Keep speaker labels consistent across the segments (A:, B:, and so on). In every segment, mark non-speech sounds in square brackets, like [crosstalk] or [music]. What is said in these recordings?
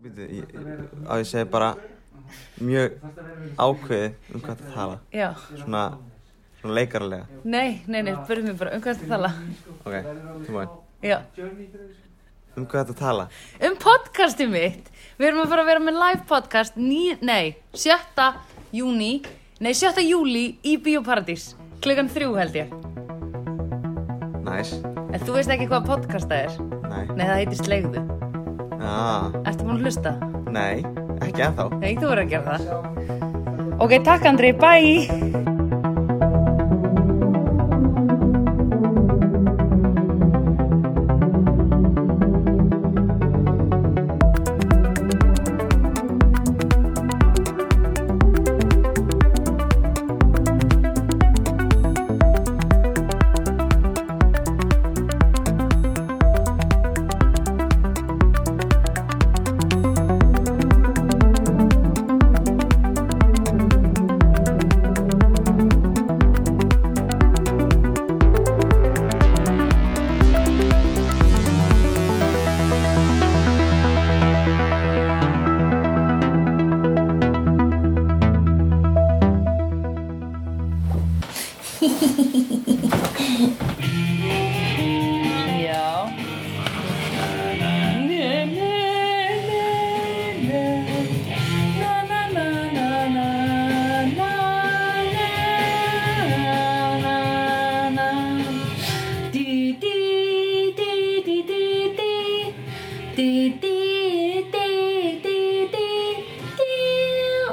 A: byrju, ég- ég- á ég segi bara mjög ákveðið um hvað það tala
B: Já,
A: svona, svona leikarlega
B: nei, nei, nei, börjum við bara um hvað þetta tala.
A: ok, þú maður
B: Já,
A: um hvað það tala
B: um podcastið mitt. Við erum að fara að vera með live podcast, ný, nei, 6. júni, nei, 6. júli í Bíóparadís, klukkan þrjú held ég.
A: næs,
B: En þú veist ekki hvað podcasta er?
A: næ,
B: Nei, það heitir Slegðu.
A: aaa
B: Ertu búin að hlusta?
A: Nei, ekki að þá.
B: Nei, þú verður að gera það. Ok, takk Andri, bye! Já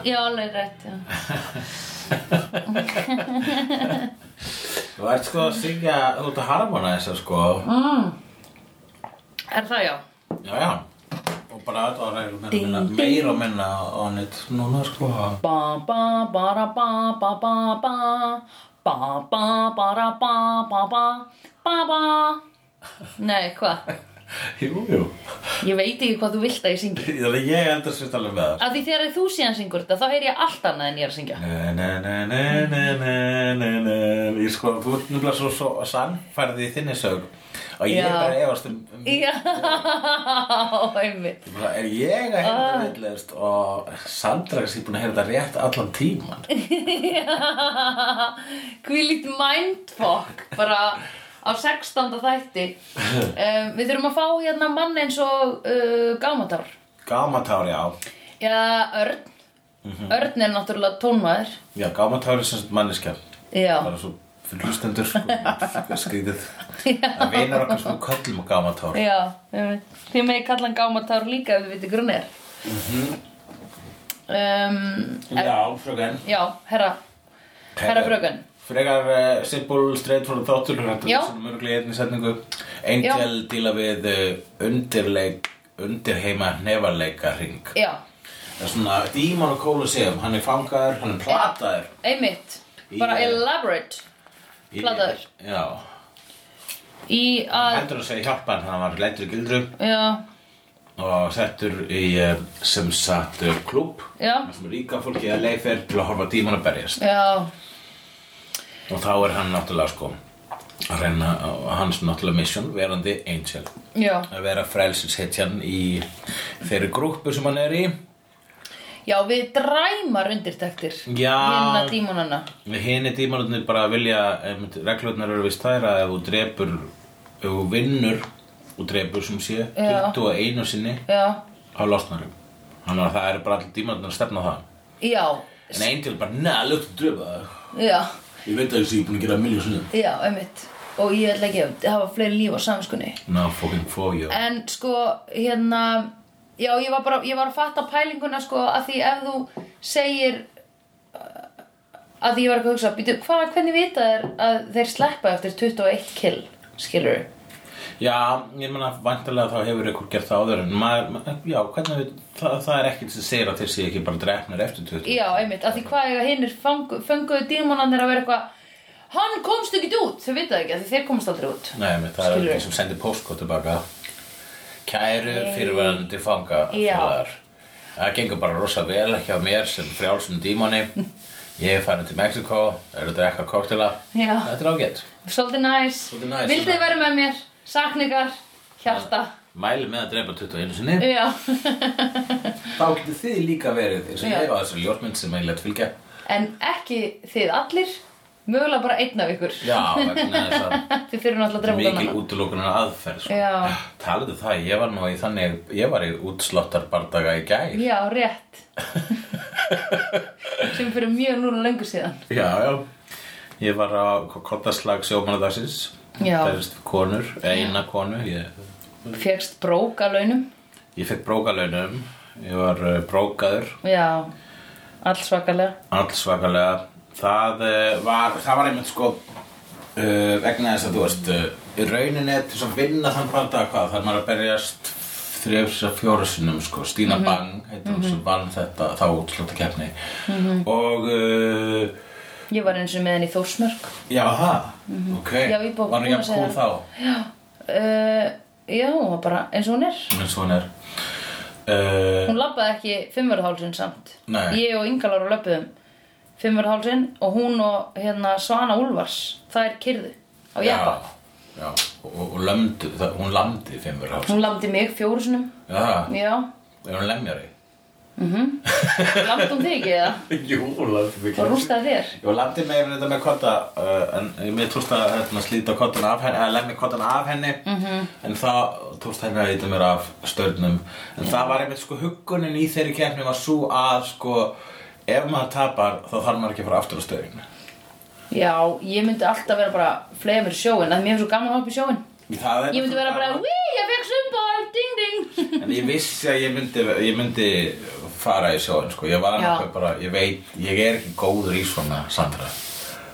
B: Já, alveg rétt, já.
C: Þú ert sko að syngja, þú ert að harmona þess að sko
B: Mm. Er það já?
C: Já, já Og bara þetta var eiginlega meira og minna, meira og minna á neitt núna sko
B: ba ba ba ra ba ba ba ba ba ba ba ra ba ba ba ba ba Nei, hvað?
C: Jú, jú
B: Ég veit ekki hvað þú vilt að ég syngi
C: Það er ég endur svitt alveg með það
B: Af því þegar þú síðan syngur þetta þá heyr ég allt annað en ég er að syngja
C: Ne, ne, ne, ne, ne, ne, ne, ne Ég sko, þú ert nefnilega svo, svo sannfærði í þinni sög Og ég
B: Já.
C: er bara að efast um, um
B: Já, einmitt
C: Ég bara, Er ég að heyra það veitlegust og Sandra sé búin að heyra þetta rétt allan tíman
B: Hvílíkt mindfuck bara á 16. þætti um, Við þurfum að fá hérna mann eins og uh, gámatar
C: Gámatár, já
B: Já, Örn Örn er náttúrulega tónmaður
C: Já, gámatár er sem sagt manneskja
B: Já,
C: bara svo fyrir hlustendur sko, skrítið að vinar okkar sko köllum og gamatár
B: já einmitt. Þið megi kalla hann gámatár líka ef við viti grunn er
C: Mhm.
B: um, er,
C: já, fröken
B: Já, herra Herra fröken
C: frekar uh, simple, straight from the thoughtur
B: Já.
C: sem mörglega í einni setningu Angel díla við uh, undirleik undirheima nefarleika ring
B: Já,
C: það er svona díman og kólusefum hann er fangaður, hann er plataður
B: einmitt Bara
C: Í-
B: elaborate
C: Í-
B: Plataður.
C: já,
B: Í að
C: hendur að segja hjálpa hann hann var leittur í gildru
B: E Já,
C: og settur í uh, sem sagt uh, klúb
B: Já.
C: þar sem ríka fólki að leið fer til að horfa díman að berjast
B: já,
C: Og þá er hann náttúrulega sko að reyna á hans náttúrulega mission verandi angel
B: já
C: að vera frelsishetjan í þeirri grúppu sem hann er í
B: Já, við dræmar undirtektir
C: Já.
B: Hérna dímonana
C: hini dímanutnir bara vilja em, reglurnar eru vist þær að ef þú drepur ef þú vinnur og drepur sem sé
B: Já.
C: 21 sinni
B: Já,
C: á losnarum þannig að það eru bara allir dímanutnir að stefna á það
B: já,
C: en angel bara, neða, luktu drepa það
B: já
C: ég veit að þessi ég er búin að gera miljón sinni
B: Já, einmitt Og ég ætla ekki að hafa fleiri líf á samskunni
C: ná, fucking for you
B: En sko, hérna Já, ég var bara, ég var að fatta pælinguna sko að því ef þú segir uh, að því ég var ekki að hugsa býtu, hvað, hvernig vita þeir að þeir sleppa eftir 21 kill, skilur
C: Já, ég meina vantarlega þá hefur ykkur gert það áður en maður, maður já, hvernig við, það, það er ekkert sem segir að þeir séu ekki bara drefnir eftir 20
B: Já, einmitt, að því hvað eiga hinnir fenguðu dímonarnir að vera eitthvað Hann komst ekki út, þau vita það ekki að þeir komast aldrei út
C: Nei, með, það
B: Skilurðu.
C: er eins sem sendir postkort tilbaka Kæru fyrirverandi fanga
B: Já.
C: félagar. Það gengur bara rosa vel hjá mér sem frjálsum dímoni Ég er farin til Mexiko, er þetta eitthvað koktila
B: Já.
C: Þetta er ágætt
B: Svolítið næs,
C: Svolítið næs,
B: vildið
C: svona.
B: vera með mér, sakningar, hjarta
C: Mæli með að drepa 21 sinni
B: Já [laughs]
C: þá getur þið líka verið eins og
B: Já.
C: ég á þessari ljósmynd sem ég let fylgja
B: En ekki þið allir, mögulega bara einn af ykkur.
C: já, vegna þess að
B: [laughs] Þið fyrir náttúrulega að drefa út
C: mikil
B: annað.
C: útlokunar aðferð
B: Já.
C: sko. talaðu það, ég var nú í þannig ég var í útsláttarbardaga í gær
B: Já,
C: [laughs]
B: rétt. Sem fyrir mjög núna lengur síðan.
C: já, já ég var á kottaslag sjómanadagsins
B: Já.
C: berist við konur, eina konu ég,
B: Fegst brók af launum.
C: ég fekk brókalaunum ég var uh, brókaður
B: Já, allsvakalega.
C: allsvakalega það uh, var, það var einmitt sko uh, vegna þess að þú veist uh, í rauninni til þess að vinna þann barndag hvað þarf maður að berjast þrjöfs að fjóra sinnum sko Stína
B: Mhm.
C: Bang heitir hún sem vann þetta þá útslóta keppni
B: Mhm.
C: og uh,
B: Ég var eins og með henni í Þórsmörk.
C: já það ok,
B: Mhm. Já, ég búið-
C: Eh, var hún
B: búin að
C: jafn
B: segja
C: kúl
B: það.
C: þá
B: Uh, já, hún var bara eins og hún er.
C: en svona er uh,
B: Hún labbaði ekki fimmverðhálsinn samt.
C: Nei.
B: Ég og Ingalar og löpuðum fimmverðhálsinn og hún og hérna Svana Úlfars. Það er kyrðu á jeppa.
C: já, og, og, og lömdu, það, hún lamdi fimmur hálf
B: Hún lamdi mig fjórusunum.
C: já,
B: Já,
C: er hún lemjari?
B: lamdi hún um þig ekki eða?
C: jú, hún lamdi mig
B: Og rústaði þér.
C: Ég var landið með þetta með kotta uh, en mér tókst að hérna, slíta kottan af henni eða lemja kottan af henni
B: Mhm.
C: -hmm. en það tókst henni að íta mér af störnum en það var einmitt sko huggunin í þeirri keppni var svo að sko ef maður tapar þá þarf maður ekki að fara aftur á stöðin
B: Já, ég myndi alltaf vera bara flega mér í sjóin. Það er mér svo gaman að hoppa í sjóin.
C: Það er
B: Ég myndi vera bara, víi, ég fekk sumból, ding ding. [laughs]
C: En ég vissi að ég myndi, ég myndi fara í sjóin sko ég var
B: Já.
C: nokkuð bara, ég veit, ég er ekki góður í svona Sandra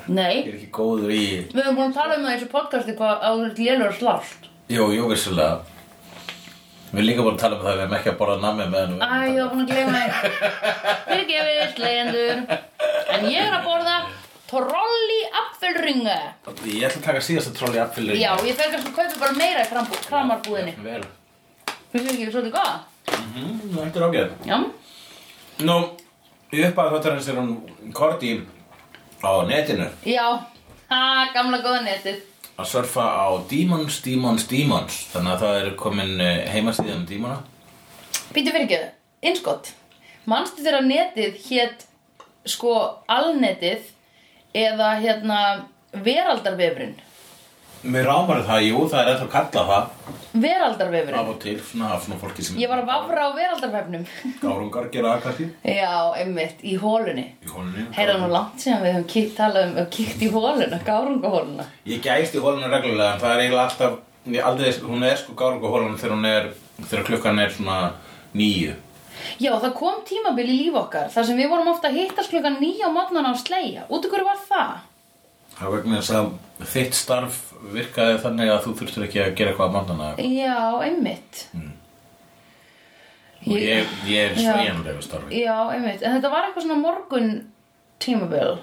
B: Nei,
C: Ég er ekki góður í
B: Við höfum búin að tala um það eins og podcasti hvað áður lélur slást.
C: Jú, jú, vissulega Við erum líka búin að tala um það að við erum ekki að borða nammi með hennu
B: Æ, ég var búin að gleyma þig. Fyrirgefið, leyendur. En ég er að borða trolli apfelringa.
C: Ég ætla að taka síðasta troll í appfyllir
B: Já, ég fer kannski að kaupa bara meira í krambú, kramarbúðinni.
C: Vel
B: Finnst þér ekki svolítið góða?
C: Mhm, Þetta er ágæð
B: Já.
C: Nú, í uppað þáttarins er hún Korti á netinu
B: Já. Ha, gamla góða netið.
C: að surfa á Demons, Demons, Demons Þannig að það er komin eh, heimasíðan um Demona
B: Býtu fyrirgefið, innskott. Manstu þegar netið hétt, sko, alnetið eða hérna veraldarvefurinn?
C: Mér rámar það, jú, það er eftir að kalla það
B: Veraldarvefurinn.
C: af og til, svona af svona fólki sem
B: Ég var að vafra á veraldarvefnum [laughs]
C: Gárungar gera það kannski
B: Já, einmitt, í hólunni
C: Í holunni
B: Heyrða nú langt síðan við höfum kíkt, talað um, um kíkt í hóluna, gárungahóluna
C: Ég gæst í hólunum reglulega en það er eiginlega alltaf ég aldrei, hún er sko gárunga hólunum þegar hún er þegar klukkan er svona nýju
B: Já, það kom tímabil í líf okkar þar sem við vorum ofta að hittast klukkan nýja á matnana á sleia Út af hverju var það?
C: Það er vegna þess að þitt starf virkaði þannig að þú þurftur ekki að gera eitthvað að mannana
B: Já, einmitt
C: og ég, ég er
B: Já.
C: sveigjanlega starfi
B: Já, einmitt, en þetta var eitthvað svona morgun tímabil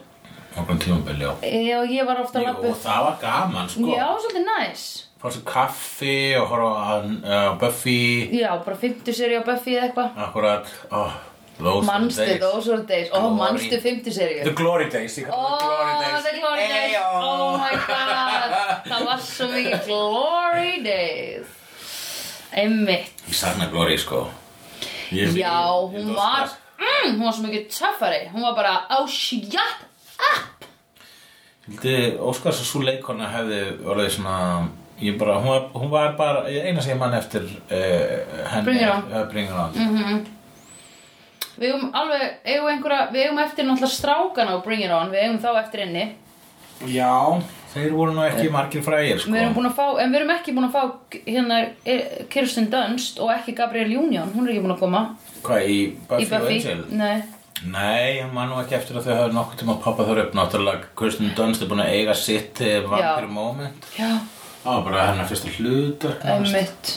C: okkur tímabil, já
B: Já, ég var ofta að
C: Jú,
B: lappa
C: og það var gaman sko
B: Já, svolítið næs
C: fá sér kaffi og horfa á uh, Buffy
B: Já, bara fimmtu seri á Buffy eða eitthvað
C: akkurat oh, those
B: Manstu
C: days.
B: þó, svo days Ó,
C: Glory.
B: manstu fimmtu seri
C: The Glory Days, ég kallar
B: Oh,
C: það Glory Days
B: the glory days
C: Eyjó.
B: Oh my god Það var svo mikið glory days Einmitt
C: Ég sakna Glory sko Ég- ég-
B: Já,
C: ég-
B: hún
C: ég-
B: var mm, Hún var svo mikið töffari Hún var bara Oh shit Ah,
C: Þið, Óskars og svo leikona hefði orðið svona ég bara, hún var, hún var bara eina sem ég mann eftir uh, henni,
B: Bring it on. Mhm.
C: uh, bring it on. Mm
B: Við eigum alveg, eigum einhverja Við eigum eftir náttúrulega strákana á Bring It On Við eigum þá eftir inni
C: Já Þeir voru nú ekki margir frægir sko
B: Við erum búin að fá, en við erum ekki búin að fá Hérna eh, Kirsten Dunst Og ekki Gabrielle Union, hún er ekki búin að koma
C: Hvað, í Buffy,
B: Í Buffy,
C: Angel?
B: nei
C: Nei, ég man nú ekki eftir að þau hafði nokkuð tíma að poppa þar upp Náttúrulega, Kirsten Dunst er búin að eiga sitt eh, Vampire Moment
B: Já,
C: Það var bara hennar fyrsta hlutur
B: Einmitt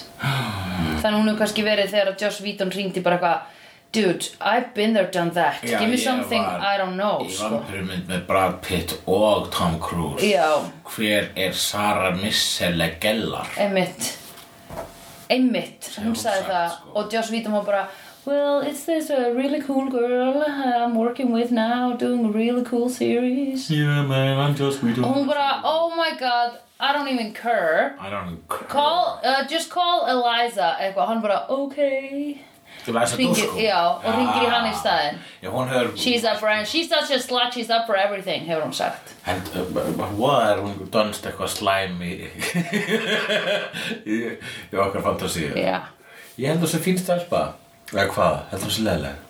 B: Þannig hún hefur kannski verið þegar að Josh Whedon ringdi bara eitthvað Dude, I've been there, done that
C: Já,
B: Give me
C: ég
B: something
C: var-
B: I don't know
C: Í
B: sko.
C: vampirumynd með Brad Pitt og Tom Cruise
B: Já.
C: Hver er Sarah Michelle Gellar?
B: Einmitt Einmitt, hún
C: hún
B: sagði
C: sagt,
B: það
C: sko.
B: Og Josh Whedon var bara Well, it's this a really cool girl I'm working with now Doing a really cool series
C: Yeah man, I'm just we
B: Og
C: do
B: hún bara, oh my god I don't even care
C: I don't know
B: Call, uh, just call Eliza Eitthvað, hann bara, ok
C: Til að þess að
B: Hringir-
C: dúsku
B: já, og hringir í hann í staðinn.
C: Já, hún hefur
B: She's up for she's such a slut, she's up for everything, hefur hún sagt.
C: En uh, voða er hún einhver dönst eitthvað slæm í, [laughs] í, í okkar fantasíu
B: Já.
C: Ég held þú sem fín stelpa Eða hvað, heldur þú sem leðileg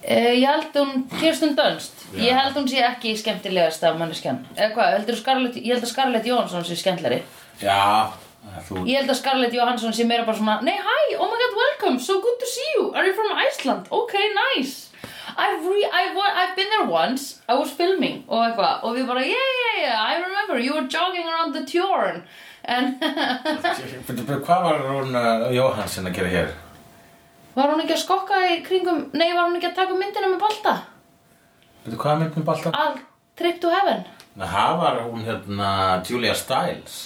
B: Uh, ég held hún, Kirsten Dunst,
C: Já.
B: ég held hún sé ekki skemmtilegasta manneskjan. Eða hvað, heldur Scarlett, ég held að Scarlett Johansson sé skemmtilegri.
C: Já, eh, þú
B: Ég held að Scarlett Johansson sé meira bara svona, nei, hi, oh my god, welcome, so good to see you, are you from Iceland? Okay, nice. I've, re I've, wa- I've been there once, I was filming og eitthvað og við bara, yeah, yeah, yeah, I remember, you were jogging around the Tjörn. En [laughs]
C: Bíddu, bíddu, Hvað var hún uh, Jóhannsson að gera hér?
B: var hún ekki að skokka í kringum, nei, var hún ekki að taka myndina með balta?
C: Veitu hvað er myndin balta?
B: All trip to heaven.
C: Það var hún hérna Julia Stiles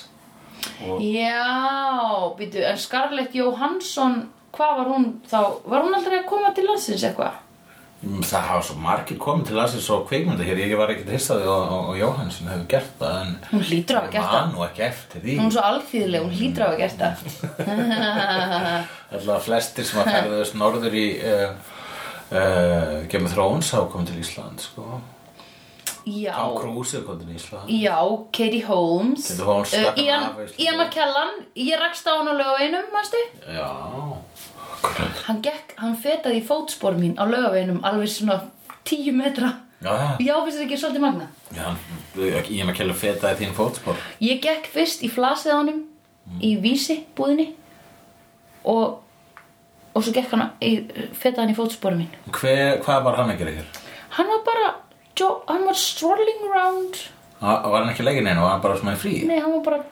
B: Já, býtu, en Scarlett Johansson, hvað var hún þá, var hún aldrei að koma til landsins eitthvað?
C: Mm, Það hafa svo margir komið til aðsins og kveikmynda hér, ég var ekkert hissaði og, og, og Jóhannsson hefur gert það en
B: Hún hlýtur að hafa
C: Ég
B: gert
C: man
B: það.
C: nú ekki eftir því
B: Hún er svo alþýðileg, hún hlýtur að hafa gert það.
C: Alltaf flestir sem að ferðast norður í uh, uh, Game of Thrones hafa komið til Ísland sko.
B: Já,
C: Tom Cruise er komið til Ísland
B: já, Katie Holmes.
C: Katie Holmes,
B: uh,
C: stakk hann
B: Ian,
C: af, veist þú.
B: Ian McKellan, ég rakst á hann á laugaveginum, mástu?
C: Já Grönt.
B: Hann gekk, hann fetaði í fótspor mín á laugaveginum alveg svona tíu metra.
C: Já,
B: Já, finnst þetta ekki svolítið magna?
C: já, ég er með kella fetaði þín fótspor
B: Ég gekk fyrst í flasið á honum
C: Mm.
B: í vísi búðinni og, og svo gekk hann í, feta hann í fótspóra mín.
C: Hver, Hvað var hann að gera hér?
B: Hann var bara, jo, hann var strolling around,
C: Ha- Var hann ekki leggin einu, var hann bara svona í frí?
B: nei hann var bara,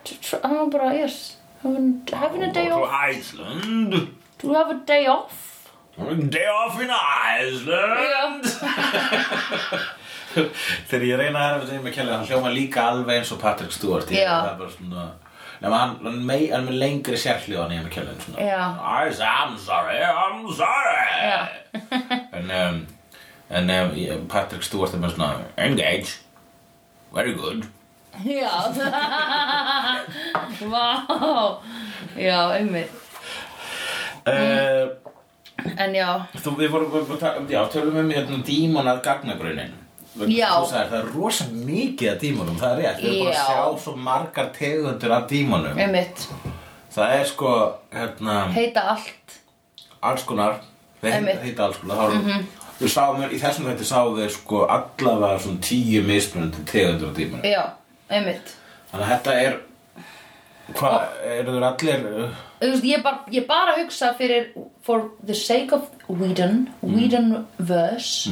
B: hann var bara, yes, having, having a day off,
C: Iceland
B: do you have a day off?
C: Day off in Iceland Þegar ég reyna að segja með Kelly, hann hljóma líka alveg eins og Patrick Stewart ég,
B: Já.
C: það er bara svona nema hann, hann, mei, hann er með lengri sérhljóðan í með Kelly svona,
B: Já.
C: "Ice, I'm sorry, I'm sorry
B: Já.
C: en, um, en um, ég- Patrick Stewart er með svona engage, very good
B: Já, [laughs] vá, já, einmitt, Mhm.
C: mm.
B: en já,
C: Þú, við vorum, við, við, já, tölum um hérna dímonað gagnagrunnin
B: Já.
C: Þú sagðir, það er rosa mikið af dímonum, það er rétt Við erum búin
B: Já.
C: að sjá svo margar tegundur af dímonum
B: einmitt,
C: Það er sko, hérna,
B: heita allt,
C: alls konar Þeir
B: Einmitt. Mhm.
C: heita- heita alls konar, þá erum Við sáum, í þessum þetta sáum við sko allavega svona tíu mismunandi tegundur af dímonum
B: já, einmitt.
C: Þannig að þetta er, hvað, eru þeir allir uh,
B: Þú veist, ég bara, ég bara hugsa fyrir for the sake of Whedon
C: Mm.
B: Whedonverse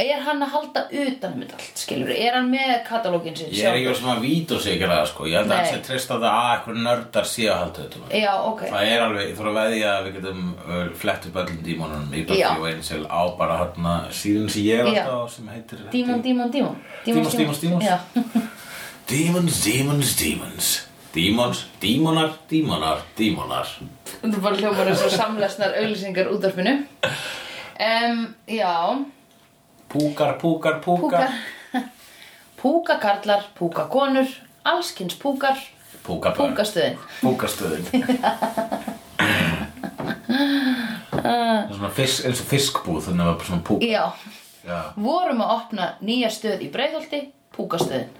B: er hann að halda utan um þetta allt skilur, er hann með katalógin sin
C: Ég er ekki verið sem að víta sig ekki að sko Ég held að
B: Nei.
C: það sé treysta það að eitthvað nördar sé að halda þetta sko.
B: já, ok,
C: Það er alveg, ég þarf að veðja að við getum uh, flett upp öllum dímonunum í
B: Já.
C: Buffy og Angel á bara hérna síðan sem ég er
B: Já.
C: alltaf á sem heitir
B: dímon, dímon, dímon
C: Dímons, dímons, dímons.
B: já,
C: Dímons, dímons, dímons Dímons, dímonar, dímonar, dímonar
B: þú bara hljómar eins og samlesnar auglýsingar útvarpinu um, já,
C: Púkar, púkar, púkar
B: púkar [laughs] púkakarlar, púkakonur allskins púkar
C: Púkabörn
B: púkastöðin
C: Púkastöðin Svona fisk, eins og fiskbúð þannig að það var bara svona púk
B: já,
C: Já.
B: vorum að opna nýja stöð í Breiðholti púkastöðin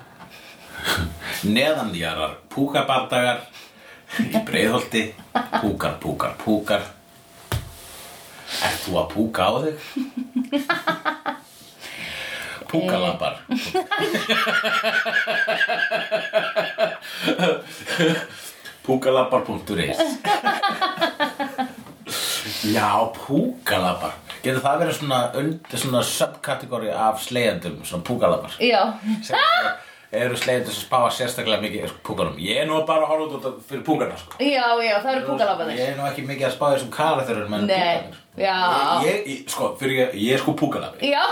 C: Neðanjarar, púkabardagar í breiðholti Púkar, púkar, púkar Ert þú að púka á þig? Púkalabar Púkalabar.is Já, púkalabar Getur það verið svona, und- svona subkategóri af slegjandum, svona púkalabar
B: já,
C: Sérstaklega- eru slegjendur sem spáa sérstaklega mikið sko, púkanum. Ég er nú bara að horfa út á- fyrir púkana, sko.
B: Já, já, það eru púkalabarnir
C: Ég er nú ekki mikið að spá þessum karakterum en
B: Nei,
C: púkanir.
B: já.
C: Ég, ég, sko, fyrir ég, ég er sko púkalabi.
B: Já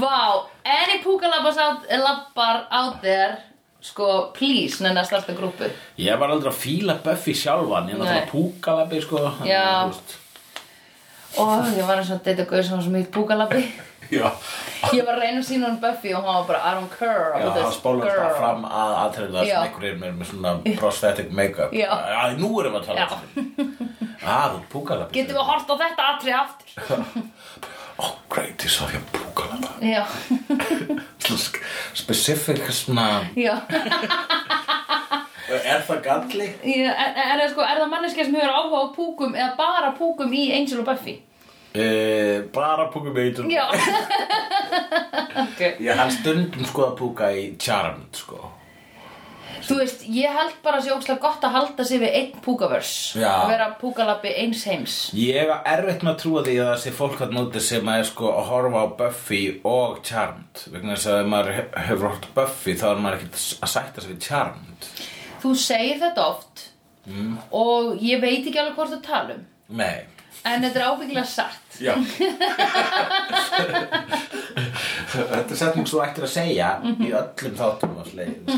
B: Vá, any púkalabars out, labbar out there Sko, please, nenni að starta grúpu
C: Ég var aldrei að fíla Buffy sjálfan, ég er náttúrulega
B: Nei.
C: púkalabi, sko. þannig að,
B: Já.
C: þú veist.
B: Ó, ég var eins og að deyta gauð sem var svo mikið púkalabi
C: Já,
B: Ég var að reyna að sína hann Buffy og hann var bara I don't care
C: já
B: about
C: það
B: this
C: spólast
B: girl."
C: það fram að
B: Já.
C: aðtreyða sem einhverjum er með svona prosthetic make-up
B: Já.
C: Að nú erum við að tala
B: Já.
C: Að, þú púkalabbi
B: Getum við að horta á þetta atri aftur?
C: Ó, Oh, great, ég sá því að púkalabba
B: Já,
C: Svona sk- Specific svona
B: já
C: Er það galli?
B: Ég- Er, er, er, sko, er það manneskja sem hefur áhuga á púkum eða bara púkum í Angel og Buffy?
C: E, bara púkum eitur
B: Já okay.
C: Ég hann stundum sko að púka í Charmed sko
B: Þú veist, ég held bara að sé ókslega gott að halda sig við einn púkavers
C: Já.
B: að vera púkalabbi eins heims
C: Ég hef erfitt með að trúa því að það sé fólk að núti sem að er sko að horfa á Buffy og Charmed vegna þess að ef maður he- hefur hort Buffy þá er maður ekkert að sætta sig við Charmed
B: Þú segir þetta oft mm. og ég veit ekki alveg hvort þú talum
C: Nei
B: en þetta er ábyggilega satt
C: Já Þetta er setning svo ættir að segja í öllum þáttum og slegið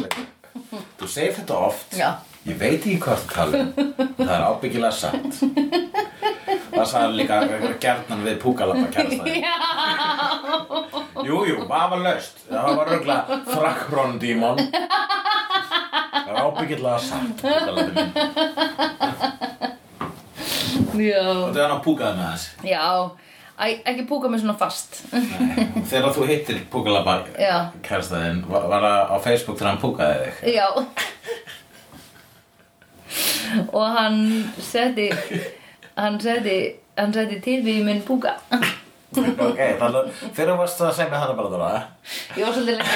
C: Þú segir þetta oft
B: Já.
C: Ég veit ekki hvað þú tala um. Það er ábyggilega satt Það sagði líka einhver gerðnan við púkalappa kærastæði Jú, jú, vafa löst Það var rögla frakrón dímon Það er ábyggilega satt púkalabbi minn.
B: Já
C: Þetta er hann að púkaði með þessi
B: Já, Æ, ekki púka mig svona fast [laughs]
C: Nei, Þegar þú hittir Púkalabba
B: Já.
C: kærstaðinn, var var það á Facebook þegar hann púkaði
B: [laughs]
C: þig?
B: Já Og hann setti hann setti hann setti TV í minn púka
C: ok, þannig fyrir varst það að segja með hana bara þarna
B: Ég var svolítið lengi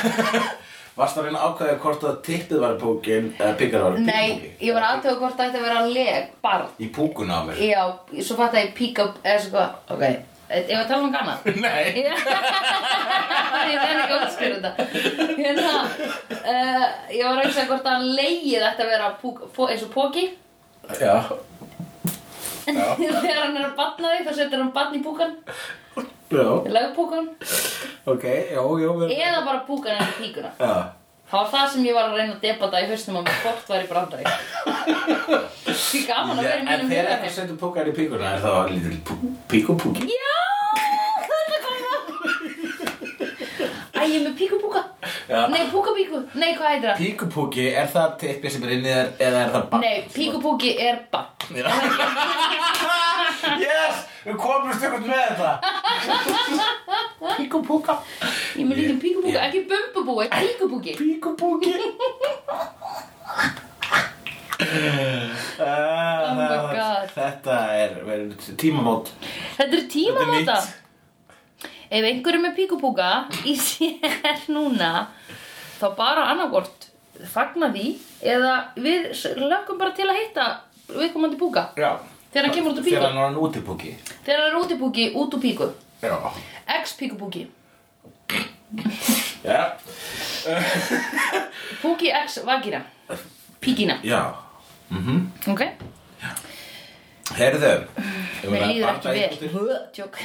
C: Varst það að reyna að ákveða hvort að tippið var í púkin eða píkar var í
B: Nei, ég var aðtöga hvort það ætti að vera leg barn
C: Í púkun á mér
B: Já, svo fatt að ég píka upp eða svo hvað Ok, ég var að tala um gana
C: Nei
B: [laughs] Ég verði ekki að útskýra þetta Hérna uh, Ég var að reyna hvort að leið ætti að vera púk, pó, eins og póki
C: Já Já.
B: [laughs] Þegar hann er að batna þig þá setur hann batn í púkan
C: Já,
B: Legpúkan
C: ok, já, já við...
B: Eða bara púkan en píkuna
C: Já
B: Það var það sem ég var að reyna að debata í höstum að hvort var í
C: [laughs]
B: brandari Því gaman að
C: Já,
B: vera í mínum
C: En þegar eitthvað
B: hugarheim
C: setur púkar í píkuna er það lítil píkupúki
B: Já, þarna kom það Æ, ég er með píkupúka
C: Já.
B: Nei, púkapíku Nei, hvað heitir það?
C: Píkupúki, er það tippið sem er inn í þér eða er það barn?
B: Nei, píkupúki er bann
C: [laughs] Yes, við komumst ykkur með þetta Píkupúka
B: Ég er með lítið píkupúka, ekki bumbubú, er píkupúki
C: Píkupúki
B: Oh my god.
C: Ah, Þetta er verið tímamót
B: Þetta er tímamóta
C: Þetta er nýtt.
B: Ef einhver er með píkupúka í sér núna þá bara annarkvort fagna því eða við s- lögum bara til að hitta viðkomandi púka
C: Já
B: Þegar hann kemur út úr píku.
C: Þegar hann er hann út í púki
B: þegar hann er út í púki, út úr píku
C: Já
B: ex píkupúki
C: Já
B: púki ex vagina píkina,
C: Já
B: ok?
C: Heyrðu
B: Mér líður ekki vel Hö, [laughs] Tjók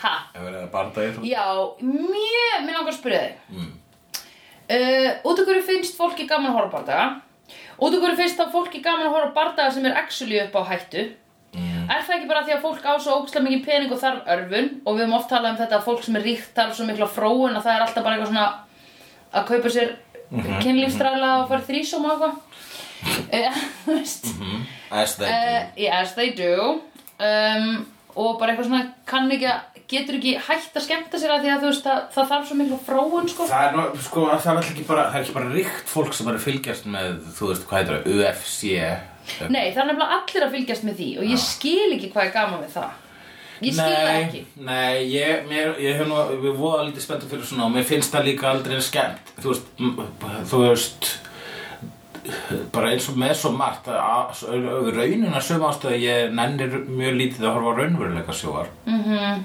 B: Ha,
C: Ef við erum að barda í þú
B: já, mjög mér langar að spyrja þig uh, Út af hverju finnst fólki gaman að horfa á bardaga? Út af hverju finnst það fólki gaman að horfa á bardaga sem er actually upp á hættu? Er það ekki bara því að fólk á svo ógstlega mikið pening og þarf örfun og við höfum oft talað um þetta að fólk sem er ríkt þarf svo mikla fróun að það er alltaf bara eitthvað svona að kaupa sér kynlífstræla og fara í þrísóm og eitthvað Eh, [laughs] Þú veist
C: Æst það
B: uh,
C: ekki
B: Yes, they do um, og bara eitthvað svona kann ekki að getur ekki hægt að skemmta sér að því að þú veist að það þarf svo mikla fróun sko
C: Það er, nú- sko, það er alltaf ekki bara, það er ekki bara ríkt fólk sem er að fylgjast með, þú veist, hvað heitir það, UFC
B: Nei, það er nefnilega allir að fylgjast með því og ég skil ekki hvað er gaman við það Ég skil það ekki
C: Nei, ég, mér, ég hef nú, við voða lítið spenntum fyrir svona og mér finnst það líka aldrei eins skemmt, þú veist, m- b- þú veist, bara eins og með svo margt, að- að raunina söm ástöðu, ég nennir mjög lítið að horfa á raunveruleika sjóar. Mm
B: Mhm.
C: -hmm.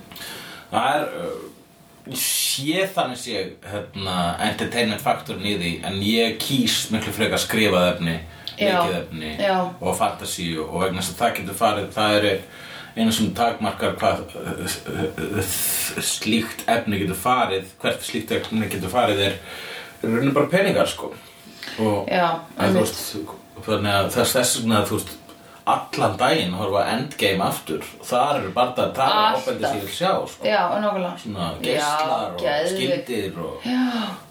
C: Það er, uh, sé þannig sé, hérna, entertainment faktorinn í því, en ég kýs miklu frekar skrifað efni,
B: Já,
C: leikið efni
B: já.
C: og fantasíu og vegna þess að það getur farið það eru einu sem takmarkar hvað uh, uh, uh, slíkt efni getur farið hvert slíkt efni getur farið er rauninu bara peningar sko og
B: Já,
C: en, þú
B: einmitt.
C: veist, þannig að þess, þess vegna þú veist allan daginn og horfa á Endgame aftur þar eru barndar að tala
B: Alltaf.
C: ábændi sér sjá sko.
B: já, og nákvæmlega
C: svona geislar
B: Já,
C: og
B: geðveikt.
C: skildir og,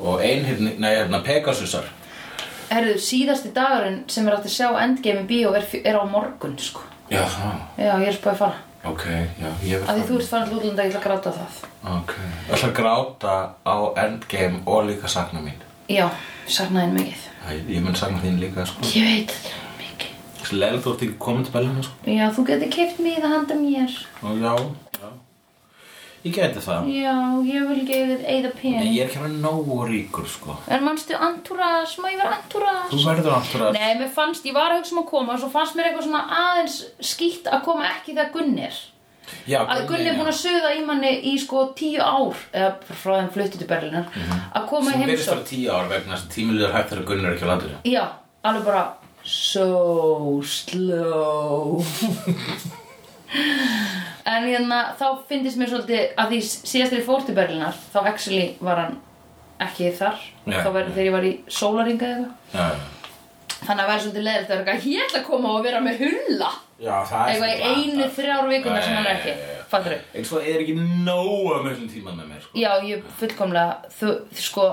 C: og einhyrni, nei, hérna Pegasusar
B: Herðu, síðasti dagurinn sem er átt að sjá Endgame í bíó er, er á morgun, sko.
C: já, það,
B: Já, ég er spáðið að fara.
C: ok, já, ég
B: Af því þú
C: verð það
B: ert farin til útlanda, ég ætla að gráta á það.
C: ok, ég ætla að gráta á Endgame og líka sakna mín
B: Já, saknaði henn mikið.
C: Æ, ég mun sakna þín líka sko.
B: Ég veit þetta er mikið.
C: Leila þú ert ekki komin til Berlín sko.
B: Já, þú getur keift mig í það handa mér.
C: Ó, já, já ég geti það
B: Já, ég vil ekki eða eða
C: en
B: pen.
C: ég er ekki hann nógu ríkur sko.
B: En manstu Antúras, má ég vera Antúras?
C: þú verður náttúrulega
B: Nei, mér fannst, ég var að hugsa um að koma, svo fannst mér eitthvað svona aðeins skýtt að koma ekki þegar Gunnir.
C: Já,
B: Að Gunni er búin að sögða í manni í sko tíu ár, eða frá þeim fluttu til Berlinar, að koma í
C: Mhm. Sem verðist
B: heimsókn.
C: fyrir tíu ár vegna þess að tímilegur hægt þegar Gunnar er ekki á landinu.
B: Já, alveg bara So slow En hérna, þá finnst mér svolítið að því síðast þegar ég fór til Berlinar þá actually var hann ekki þar
C: Já,
B: þá var
C: já.
B: þegar ég var í sólaringa eða eitthvað.
C: Já, já.
B: þannig að vera svolítið leðilt að vera eitthvað ég ætla að koma og vera með hulla
C: Já, það er
B: eitthvað í einu þrjár vikuna sem hann er ekki fattur upp
C: Eins og er ekki nógu að mjög tíma með mér, sko.
B: Já, ég fullkomlega, þú, þú sko,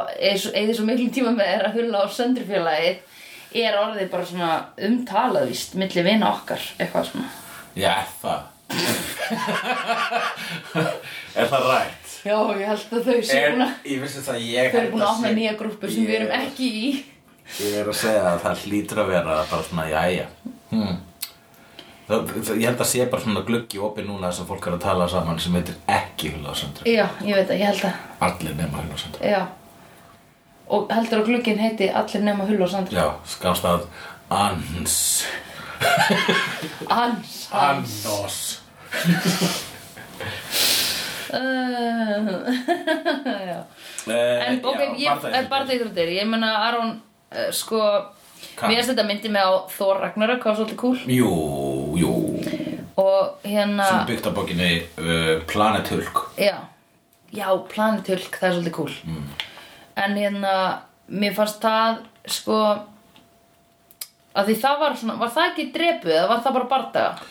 B: eða svo miklum tíma með er að hulla á söndrufélagið er orðið bara svona umtalað víst, milli vina okkar, eitthvað svona.
C: Já, er það. [laughs] er það rætt?
B: Já, ég held að þau séu
C: Er,
B: búin að,
C: ég vissi það, ég
B: þau eru búin að opna
C: sé-
B: nýja grúpu sem við erum
C: Ég-
B: ekki í.
C: Ég er að segja að það hlýtur að vera bara svona, jæja. Hmm. Það, það, ég held að sé bara svona gluggi opið núna sem fólk er að tala saman sem heitir ekki hulasandri.
B: Já, ég veit það, ég held að,
C: Allir nema hulasandri.
B: já. Og heldur að glugginn heiti Allir nema hulla og söndru.
C: Já, skástað Ans
B: Hans. [laughs]
C: Annos
B: Uh,
C: Eh,
B: já. En ok, ég er bara íþróttir, ég meina Aron, uh, sko,
C: Hvað?
B: mér finnst þetta myndi mig á Þór Ragnarök, hvað var svolítið kúl.
C: Jú, jú
B: og hérna
C: Sem byggt á bókinni uh, Planet Hulk
B: já, já, planetulk, það er svolítið cool
C: Mm.
B: en hérna mér fannst það sko að því það var svona, var það ekki drepuð eða var það bara bardaga?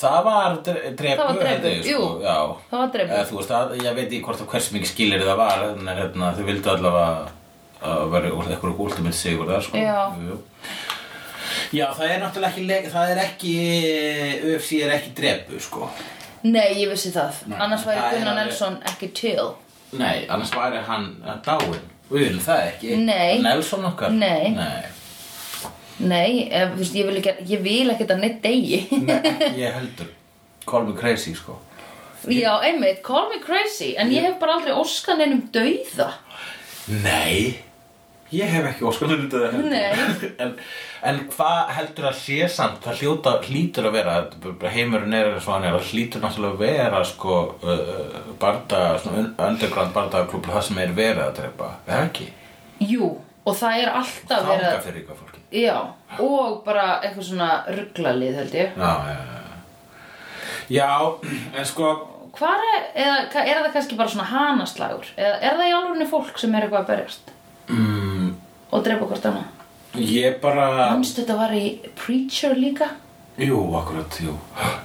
C: Það var dre- drepu
B: Það var drepu,
C: held ég, sko,
B: jú.
C: Já
B: Það var drepu.
C: Eh, Þú veist, að, ég veit ekki hvort að hversu mikið skilir það var En hérna, þau vildu allavega að vera úr eitthvað últimil sigur það sko
B: Já.
C: Jú, jú. Já, það er náttúrulega ekki, leik- það er ekki, UFC er ekki drepu, sko.
B: Nei, ég vissi það,
C: Nei,
B: annars væri
C: það er
B: Gunnar
C: alveg-
B: Nelson ekki til
C: Nei, annars væri hann dáin Við viljum það ekki
B: Nei.
C: Nelson okkar
B: Nei.
C: Nei,
B: Nei, ef, þú veist, ég vil ekki, ég vil ekki að neitt degi
C: Nei ekki ég heldur Call me crazy, sko
B: Já, einmitt, call me crazy en ég hef bara aldrei óskan einum dauða
C: Nei Ég hef ekki óskanlega þetta heldur
B: Nei.
C: [laughs] En, en hvað heldur að sé samt Það hljóta, hlýtur að vera bara Heimurinn er eins og hann er Það hlýtur náttúrulega að vera, sko uh, Barda, svona un- underground bardaklúb Það sem er verið að drepa Er það ekki?
B: Jú, og það er alltaf verið
C: Þanga
B: að-
C: fyrir ykkur fólki
B: Já, og bara eitthvað svona rugglalið held ég
C: Já, já, já, já Já, en sko
B: Hvar er, eða ka- er það kannski bara svona hanaslagur? Eða er það í alvörinu fólk sem er eitthvað að berjast?
C: Mm,
B: Og drepa hvort annað?
C: ég bara,
B: Manstu þetta var í Preacher líka?
C: jú, akkurat, jú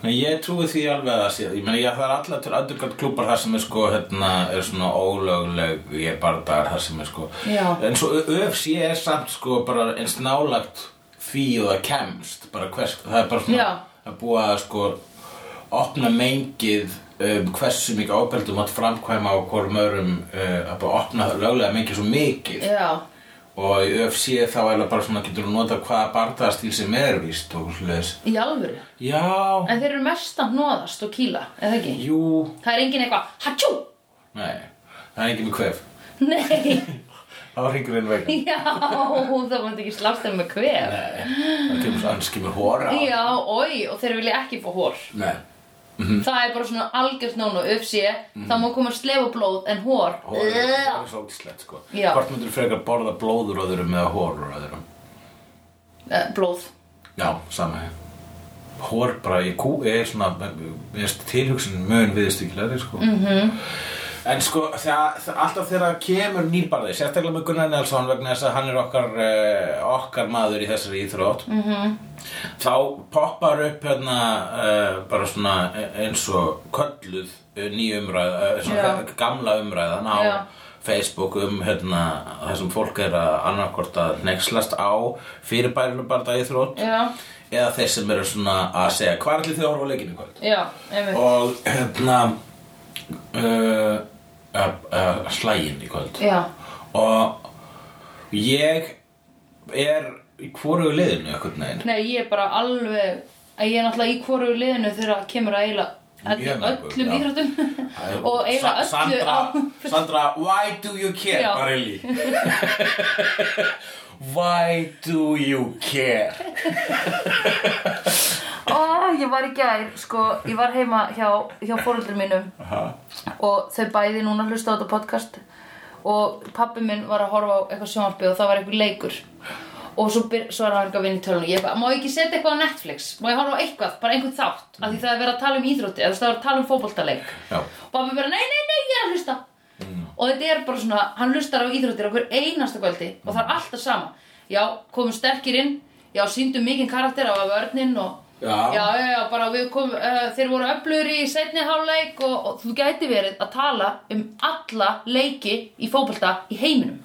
C: Nei, ég trúi því alveg að það sé Ég meni, ég það er allar til öndurgrænt klúpar þar sem er sko, hérna, er svona ólögleg Ég bara dagar þar sem er sko
B: Já.
C: En svo öfs ég er samt sko bara eins nálagt því og það kemst Bara hvers, það er bara svona
B: Já.
C: að búa að sko opna mengið um, hversu mikið ábeldum að framkvæma á hvorm örum uh, að bara opna löglega mengið svo mikið
B: Já,
C: og í UFC þá er það bara svona getur þú nota hvaða bardaðastíl sem er víst og hlutis
B: í alvöru
C: já,
B: En þeir eru mest að hnoðast og kýla, eða ekki?
C: jú,
B: Það er engin eitthvað, hatjú!
C: nei það er ekki með kvef
B: [laughs] Nei,
C: þá hringur
B: [laughs]
C: einn veginn
B: já, það mátti ekki slást þeim með hver
C: það kemur svo annars kemur hóra á.
B: Já, oi, og þeir vilja ekki fá hór
C: nei,
B: Það er bara svona algjört nónu, öfsi Það má koma slefa blóð en hór
C: hóra
B: Ugh.
C: er svo ógislegt sko
B: Já.
C: hvort myndur frekar borða blóður öðrum eða hórur öðrum
B: Eh, Blóð
C: já, sama hér E
B: Mhm.
C: hór bara í kú er svona er tilhugsun mun viðstíkilegri sko mm -hmm. En sko, það, það, alltaf þegar það kemur nýbarði, sérstaklega með Gunnar Nelson vegna þess að hann er okkar, uh, okkar maður í þessari íþrótt,
B: Mhm.
C: -hmm. þá poppar upp hérna uh, bara svona eins og kölluð uh, ný umræða, uh, svona
B: Já.
C: gamla umræðan á
B: Já.
C: Facebook um hérna, það sem fólk er að annarkvort að nexlast á fyrirbærinu bara það íþrótt
B: Já,
C: eða þeir sem eru svona að segja hvað er allir þið að horfa á leikinu í kvöld?
B: já, einmitt
C: og hérna uh, uh, uh, slægin í kvöld
B: Já,
C: og ég er í hvorugu liðinu einhvern veginn
B: nei, ég er bara alveg að ég er náttúrulega í hvoru liðinu þegar það kemur að eiginlega
C: Mjög
B: öll-
C: mörgu,
B: öllum
C: já.
B: íþróttum og eiginlega
C: Sa-
B: öllu
C: Sandra,
B: á [laughs]
C: Sandra, why do you care,
B: Já.
C: Barelli? [laughs] why do you care?
B: [laughs] Ó, ég var í gær, sko, ég var heima hjá, hjá fóröldur mínum
C: Ha?
B: og þau bæði núna hlusta á þetta podcast og pappi minn var að horfa á eitthvað sjónvarpi og það var eitthvað leikur og svo, byr, svo er hann eitthvað að vinna í tölunum ég bara, má ég ekki setja eitthvað á Netflix má ég horfa á eitthvað, bara einhvern þátt af því það er verið að tala um íþrótti, eða það er að tala um fótboltaleik
C: Já.
B: og pappi bara, nei, nei, nei, ég er að hlusta og þetta er bara svona, hann hlustar á íþróttir okkur einasta kvöldi og það er alltaf sama já, komum sterkir inn já, síndum mikinn karakter af vörninn og
C: Já.
B: já, já, já, bara við kom, uh, þeir voru öflugur í setni hálfleik og, og þú gæti verið að tala um alla leiki í fótbolta í heiminum.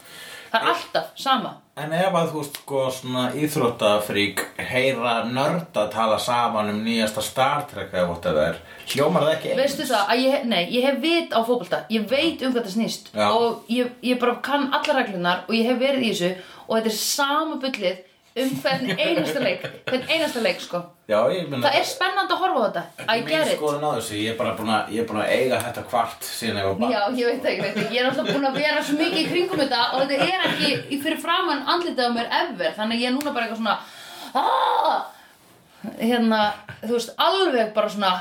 B: Það er alltaf sama.
C: En ef að þú veist sko svona íþróttafrík heyra nörd að tala saman um nýjasta Star Trek eða whatever, hljómar það ekki eins?
B: Veistu það að ég, nei, ég hef vit á fótbolta, ég veit um hvað það snýst
C: Já.
B: og ég, ég bara kann allar reglunar og ég hef verið í þessu og þetta er sama bullið um hvern einasta leik, hvern einasta leik sko.
C: Já, ég meina...
B: Það er spennandi að horfa á þetta, I
C: Mín
B: get it.
C: skoðun á þessu, ég er bara búin að, ég er búin að eiga þetta kvart síðan ég var bara.
B: Já, ég veit ekki, veit ekki. Ég er alltaf búin að vera svo mikið í kringum þetta og þetta er ekki í fyrir framann andlitað á mér ever, þannig að ég er núna bara eitthvað svona aaaah, hérna, þú veist, alveg bara svona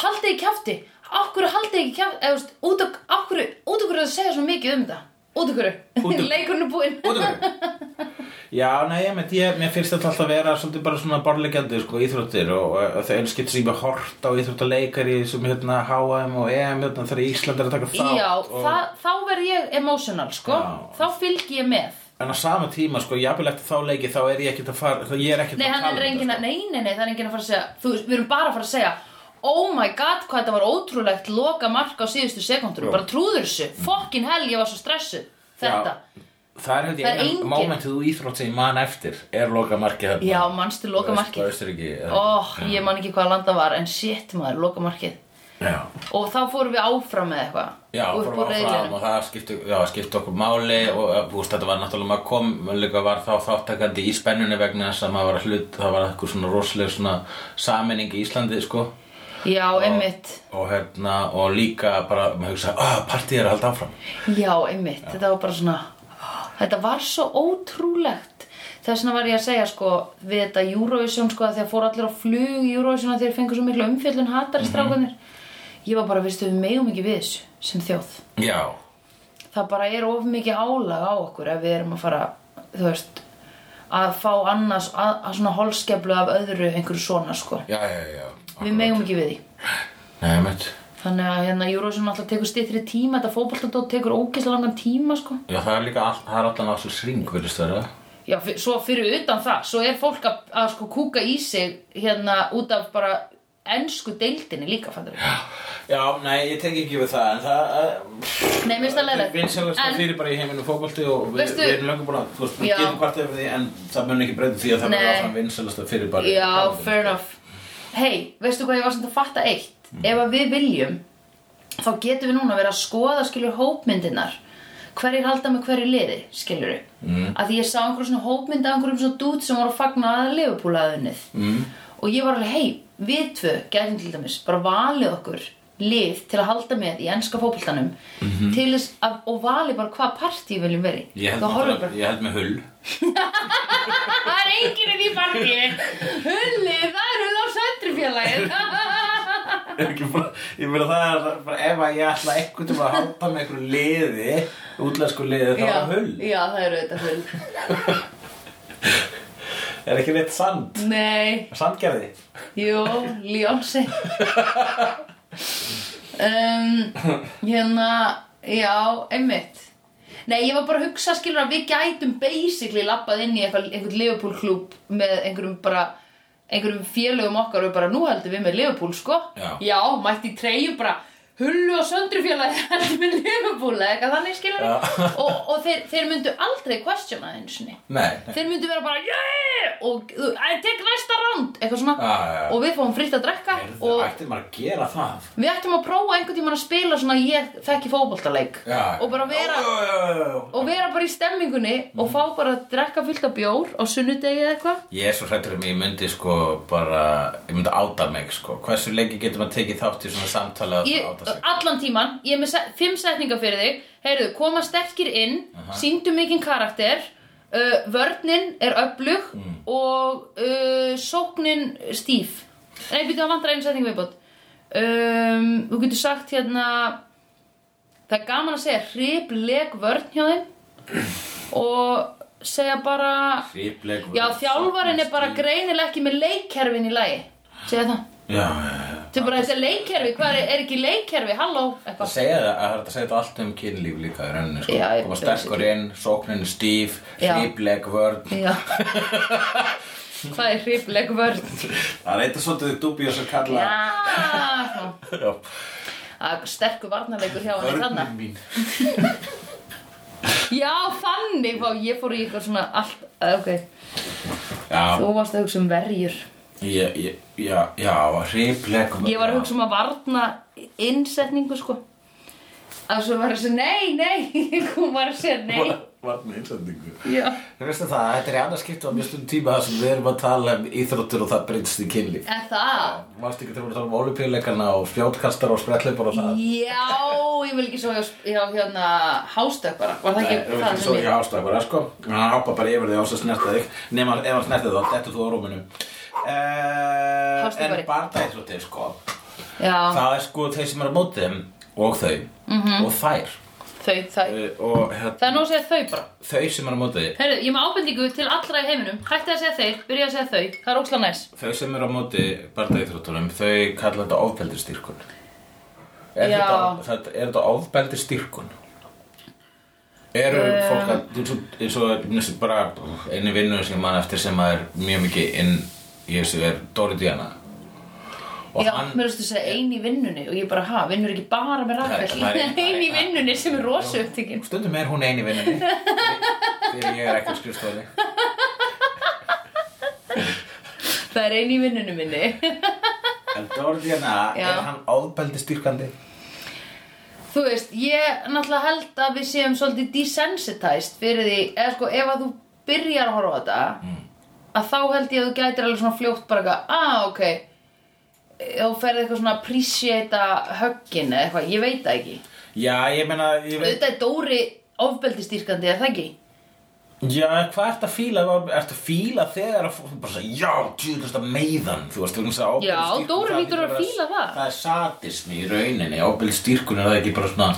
B: haldið í kjafti, okkur haldið ekki kjafti, eða þú veist, út af okkur, út af okkur að segja svo mikið um þetta, út af
C: Út
B: okkur,
C: af-
B: [laughs] leikurinn er búinn.
C: Út af hverju? Já, nei, ég meint, ég, mér finnst þetta alltaf að vera svolítið bara svona borlegjandi, sko, íþróttir og og þau einskitt sem ég með hort á íþróttaleikari sem, hérna, HM og EM, hérna, þegar Ísland er að taka þátt
B: Já,
C: og...
B: það, þá verð ég emotional, sko,
C: Já.
B: þá fylg ég með.
C: En á sama tíma, sko, jafnvel eftir þá leiki, þá er ég ekkert að fara, þá ég er ekkert
B: Nei,
C: að
B: hann
C: tala
B: er
C: um
B: engin
C: þetta,
B: að, nei, nei, nei, það er engin að fara að segja Þú veist, við erum bara að fara að segja Oh my god, hvað þetta var ótrúlegt Loka mark á síðustu sekundur
C: Já. Mm.
B: Bara trúður þessu, fokkin hel, ég var svo stressuð Þetta,
C: Já, það er
B: Það er
C: hefði einu
B: engin-
C: momentið úr íþrótt sem ég man eftir er hérna. loka markið
B: já, manstu loka markið
C: Östuríki
B: Oh, ég man ekki hvað landa var En shit maður, loka markið
C: Já,
B: Og þá fórum við áfram með eitthvað
C: já
B: Upp
C: fórum
B: úr
C: áfram
B: riðlinum.
C: og það skipti, já, skipti okkur máli og eh, þú veist, þetta var náttúrulega maður kom líka var þá þáttakandi í spennunni vegna þess að maður var að hlut, það var eitthvað svona rosaleg svona saminning í Íslandi sko
B: Já, einmitt
C: og hérna, og líka bara maður hugsa, ah, partíð er að halda áfram
B: Já, einmitt, þetta var bara svona Þetta var svo ótrúlegt Þess vegna var ég að segja sko við þetta Eurovision sko að þegar fór allir á flug í Eurovision að þeir fengu svo miklu umfjöllun hatari strákunir Ég var bara, veistu, við megum ekki við þessu sem þjóð
C: Já,
B: Það bara er of mikið álag á okkur ef við erum að fara, þú veist að fá annars að, að svona holskeflu af öðru einhverju svona sko
C: já, já, já
B: Við megum ekki við því
C: Nei, meitt
B: Þannig að hérna Eurovision alltaf tekur styttri tíma þetta fótboltadótt tekur ógeðslega langan tíma sko
C: Já, það er líka, all, það er allan ásins ring, verðist það, eða?
B: Já, fyr, svo fyrir utan það, svo er fólk að, að sko kúka í sig hérna út af bara ennsku deildinni líka, fattur við.
C: Já, nei, ég tek ekki við það, eh, en það
B: Nei, mér finnst það leiðilegt.
C: Vinsalasta
B: En-
C: fyrir bara í heiminu fókbalti og við,
B: Veistu-
C: við erum löngum búin að, þú veist, við
B: Já.
C: getum hvart yfir því en það mun ekki breyta því að það
B: Nei.
C: verður áfram vinsalasta fyrir bara um í
B: Já,
C: fótbolti.
B: fair enough. Hei, veistu hvað ég var samt að fatta eitt?
C: Mm.
B: Ef að við viljum, þá getum við núna verið að skoða, skilur, hópmyndinar. Hverjir halda með hverju liði, skilur við. Mm. Að því ég sá einhverjum svona hópmynd af einhverjum svona dút sem voru að fagna að leifupúlaðunnið. Mm. Og ég var alveg, hei, við tvö gætum til dæmis bara valið okkur lið til að halda með í enska fótboltanum til þess að, og valið bara hvað partí við viljum verið.
C: Mhm. Ég held,
B: Þá horfum við bara
C: náttúrulega- ég held með hull [laughs]
B: Það er enginn í því partíi Hulli, það eru þá söndrufjallagið
C: Ekki bara- Ég meina það er bara ef að ég ætla einhvern tíma að halda með einhverju liði útlensku liði þá er hull
B: já, það eru þetta hull
C: Er ekki neitt sand?
B: Nei,
C: Sandgerði?
B: jú, Ljónsi um, Hérna Já, einmitt Nei, ég var bara að hugsa skilur að við gætum basically labbað inn í eitthvað, einhvern Liverpool klúb með einhverjum bara einhverjum félögum okkar og bara nú heldum við með Liverpool sko
C: Já.
B: mætti í treyju bara hullu og söndru félagi [laughs] heldum við Liverpool eða eitthvað þannig skilur
C: Já.
B: og, og þeir, þeir myndu aldrei questiona einu sinni
C: Nei, nei.
B: þeir myndu vera bara yeah! og þú- æ, tek næsta round eitthvað svona
C: Já, já, já.
B: og við fáum fritt að drekka
C: Heyrðu,
B: og
C: ætti maður að gera það?
B: Við ættum að prófa einhvern tímann að spila svona ég þekki fótboltaleik
C: Já.
B: og bara vera
C: vera...
B: og vera bara í stemmingunni og fá bara að drekka fullt af bjór á sunnudegi eða eitthvað
C: Ég er svo hrættur um að ég myndi sko bara, ég myndi áta mig sko. Hversu lengi getur maður tekið þátt í svona samtala að
B: Ég-
C: áta sig?
B: allan tíman, ég er með se fimm setningar fyrir þig heyrðu, koma sterkir inn uh síndu mikinn karakter uh, vörnin er öflug
C: Mm.
B: og uh, sóknin stíf nei, býttu að vantra einu setningu viðbót um, þú getur sagt hérna það er gaman að segja hribleg vörn hjá þeim og segja bara
C: Hrifleg
B: já, þjálfarin er bara greinileg ekki með leikkerfin í lagi segja það
C: Já, já, já.
B: Þau bara þessi leikkerfi, hvað er, er ekki leikkerfi, halló,
C: Það
B: eitthvað.
C: segja það, að það er hægt að segja þetta allt um kynlíf líka í rauninni sko.
B: Já, ég-
C: Koma sterkur inn, sóknin er stíf,
B: Já.
C: hrifleg vörn.
B: Já. [laughs] hvað er hrifleg vörn?
C: Það er eitthvað svolítið dubjós að kalla.
B: Já,
C: [laughs] Já.
B: það er sterkur varnarleikur hjá henni þarna.
C: Vörnin mín.
B: Já, þannig, vá, ég fór í eitthvað svona allt, eh, ok,
C: Já,
B: þú varst að hugsa um verjur.
C: ég, ég, já, já, hrifleg vörn.
B: Ég var að hugsa um að varna innsetningu, sko. Að svo var að segja, nei, nei, [laughs] hún var að segja, um nei.
C: Vörn einsendingu.
B: Já.
C: Þú veist það, þetta er annað skipt á mjög stund tíma þar sem við erum að tala um íþróttur og það breytist í kynlíf.
B: En það,
C: Mást ekki þegar við erum að tala um ólipíuleikana og spjótkastar og sprettleipur og það.
B: já, ég vil ekki svo hjá, hjá hérna hástökk bara, var það
C: Nei,
B: ekki
C: við
B: það
C: finnst
B: sem
C: þú
B: ég?
C: ekki ástæða bara, sko. Hann hoppa bara yfir þig og svo snerta þig. Nefn að ef hann snerti þá, dettur þú á rúminu. Uh,
B: Hástu
C: en
B: bara.
C: barndæðsóttir, sko.
B: Já,
C: Það er sko þeir sem eru á móti þeim og þau og þær.
B: þau, þau.
C: Uh, og hérna,
B: Það er nú að segja þau bara.
C: þau sem eru á móti þig,
B: Heyrðu, ég er með ábendingu til allra í heiminum. Hætti að segja þeir, byrja að segja þau. Það er ósla næs.
C: þau sem eru á móti barndæðsóttunum, þau kalla þetta ofbeldistýrkun. Er
B: Já.
C: þetta, þetta, er þetta ofbeldistýrkun? Eru
B: Um.
C: fólk að, eins og- eins og eins og bara einu vinnu sem mann eftir sem að er mjög mikið inn í þessu er Dóri Díana. Og
B: Já,
C: hann-
B: mér finnst þú að segja ein í vinnunni og ég bara, ha, vinnur ekki bara með
C: Það-
B: rafell.
C: það er ein-
B: [laughs] ein í vinnunni sem er rosu upptekinn.
C: Stundum er hún
B: [laughs]
C: eini vinnunni Þegar ég er ekki á skrifstofunni
B: Það er ein í vinnunni minni. [laughs]
C: En Dórdíana,
B: Já.
C: er hann ofbeldi styrkandi?
B: þú veist, ég náttúrulega held að við séum svolítið desensitized fyrir því, eða sko, ef að þú byrjar að horfa á þetta,
C: Mm.
B: að þá held ég að þú gætir alveg svona fljótt bara eitthvað, ah, ok, þá ferði eitthvað svona appreciata höggin eða eitthvað, ég veit það ekki.
C: Já, ég meina, ég veit
B: Þetta er Dóri ofbeldistýrkandi, er það ekki?
C: Já, hvað ertu að fíla? Ertu að fíla þegar að fólk bara sagði Já, tjúðlust að meiðan Þú veist, þú veist að ofbeldi
B: Já, Dóri hlýtur að fíla það.
C: Það er sadismi í rauninni Ofbeldi styrkun er það ekki bara svona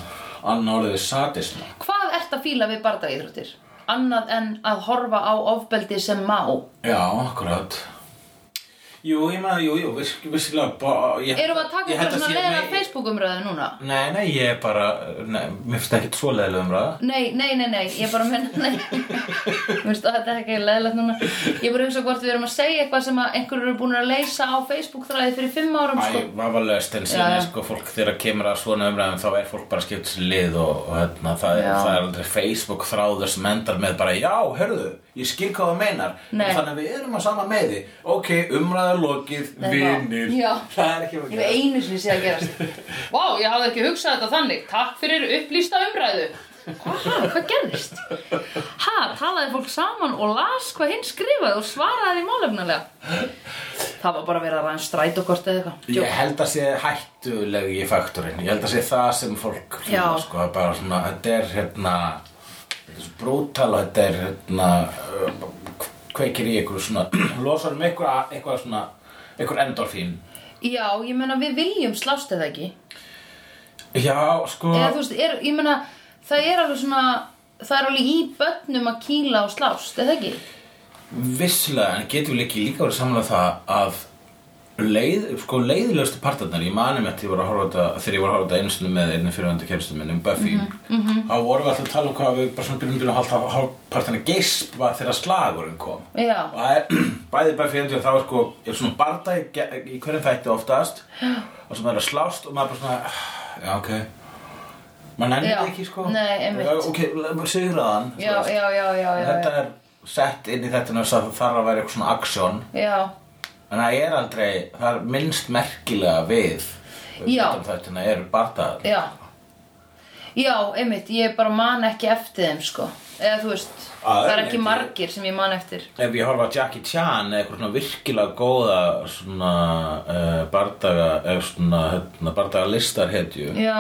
C: Anna orðið við sadismi
B: Hvað ert að fíla við bardagíþróttir? Annað en að horfa á ofbeldi sem má.
C: Já, akkurat Jú, ég meina, jú, jú, viss- vissilega bara- ég-
B: Erum við að taka
C: ég held
B: okkur svona
C: sé-
B: leðra
C: nei,
B: Facebook-umræðu núna?
C: Nei, nei, ég er bara, nei, mér finnst ekkert svo leiðilega um ræða.
B: Nei, nei, nei, nei, ég bara menna, nei Mér finnst að þetta er ekki leðilegt núna Ég bara hugsa hvort við erum að segja eitthvað sem að einhverjur eru búin að leysa á Facebook-þræði fyrir fimm árum,
C: Æ,
B: sko
C: vafalegast en
B: Já, já.
C: síðan er sko fólk þegar kemur að svona umræðum þá er fólk bara að skipta sér lið og, og hérna, það, er,
B: Já.
C: það er aldrei Facebook þráður sem endar með bara já, hörðu, ég skil hvað það meinar
B: Nei.
C: þannig að við erum á sama meði ok, umræða lokið,
B: Nei,
C: vinir
B: vá. Já.
C: það er ekki að
B: Ég hef einu sinni séð að gerast [laughs] Vá, ég hafði ekki hugsað þetta þannig Takk fyrir upplýsta umræðu Hvað, hvað gerðist? Ha, talaði fólk saman og las hvað hinn skrifaði og svaraði því málefnilega Það var bara verið að ræða strætókort eða eitthvað
C: Ég held að sé hættulegi í faktorinn Ég held að sé það sem fólk
B: Já.
C: sko, það er bara svona, þetta er hérna þetta er svo brútal og þetta er hérna uh, kveikir í ykkur svona [clears throat] losar um ykkur eitthvað svona ykkur endorfín
B: Já, ég meina við viljum slást eða ekki
C: Já, sko
B: eða þú veist, er, ég meina það er alveg svona það er alveg í börnum að kýla og slást eða ekki?
C: Visslega, en getum við ekki líka verið samanlega það að leið, sko leiðilegustu partarnar ég mani með því að ég var að horfa á þetta þegar ég var að horfa á þetta einu sinni með einni fyrirvendu kæristu minni um Buffy
B: Mhm,
C: þá vorum við alltaf að tala um hvað við bara svona byrjum byrjum að halda hálfpartana geisp var þegar slagurinn kom
B: Já.
C: og það er [clears throat] bæði Buffy endur þá er sko er svona barda í, ge- í hverjum þætti oftast og svo maður er að slást og maður bara svona "Ah, já ok maður nefnir
B: Já.
C: það ekki sko
B: Nei, einmitt.
C: Já, ok, sigraðan
B: já, já, já, já, já,
C: þetta
B: já.
C: er sett inn í þetta þess að það þarf að vera eitthvað svona aksjón
B: Já,
C: En það er aldrei, það er minnst merkilega við
B: Já.
C: Þetta er bardaðar
B: já. Já, einmitt, ég bara man ekki eftir þeim, sko. Eða þú veist,
C: Að
B: það er
C: öðru
B: ekki
C: leyti-
B: margir sem ég man eftir.
C: Ef ég horfa á Jackie Chan eða eitthvað svona virkilega góða svona uh, bardaga eða svona hérna, bardaga listarhetju
B: Já,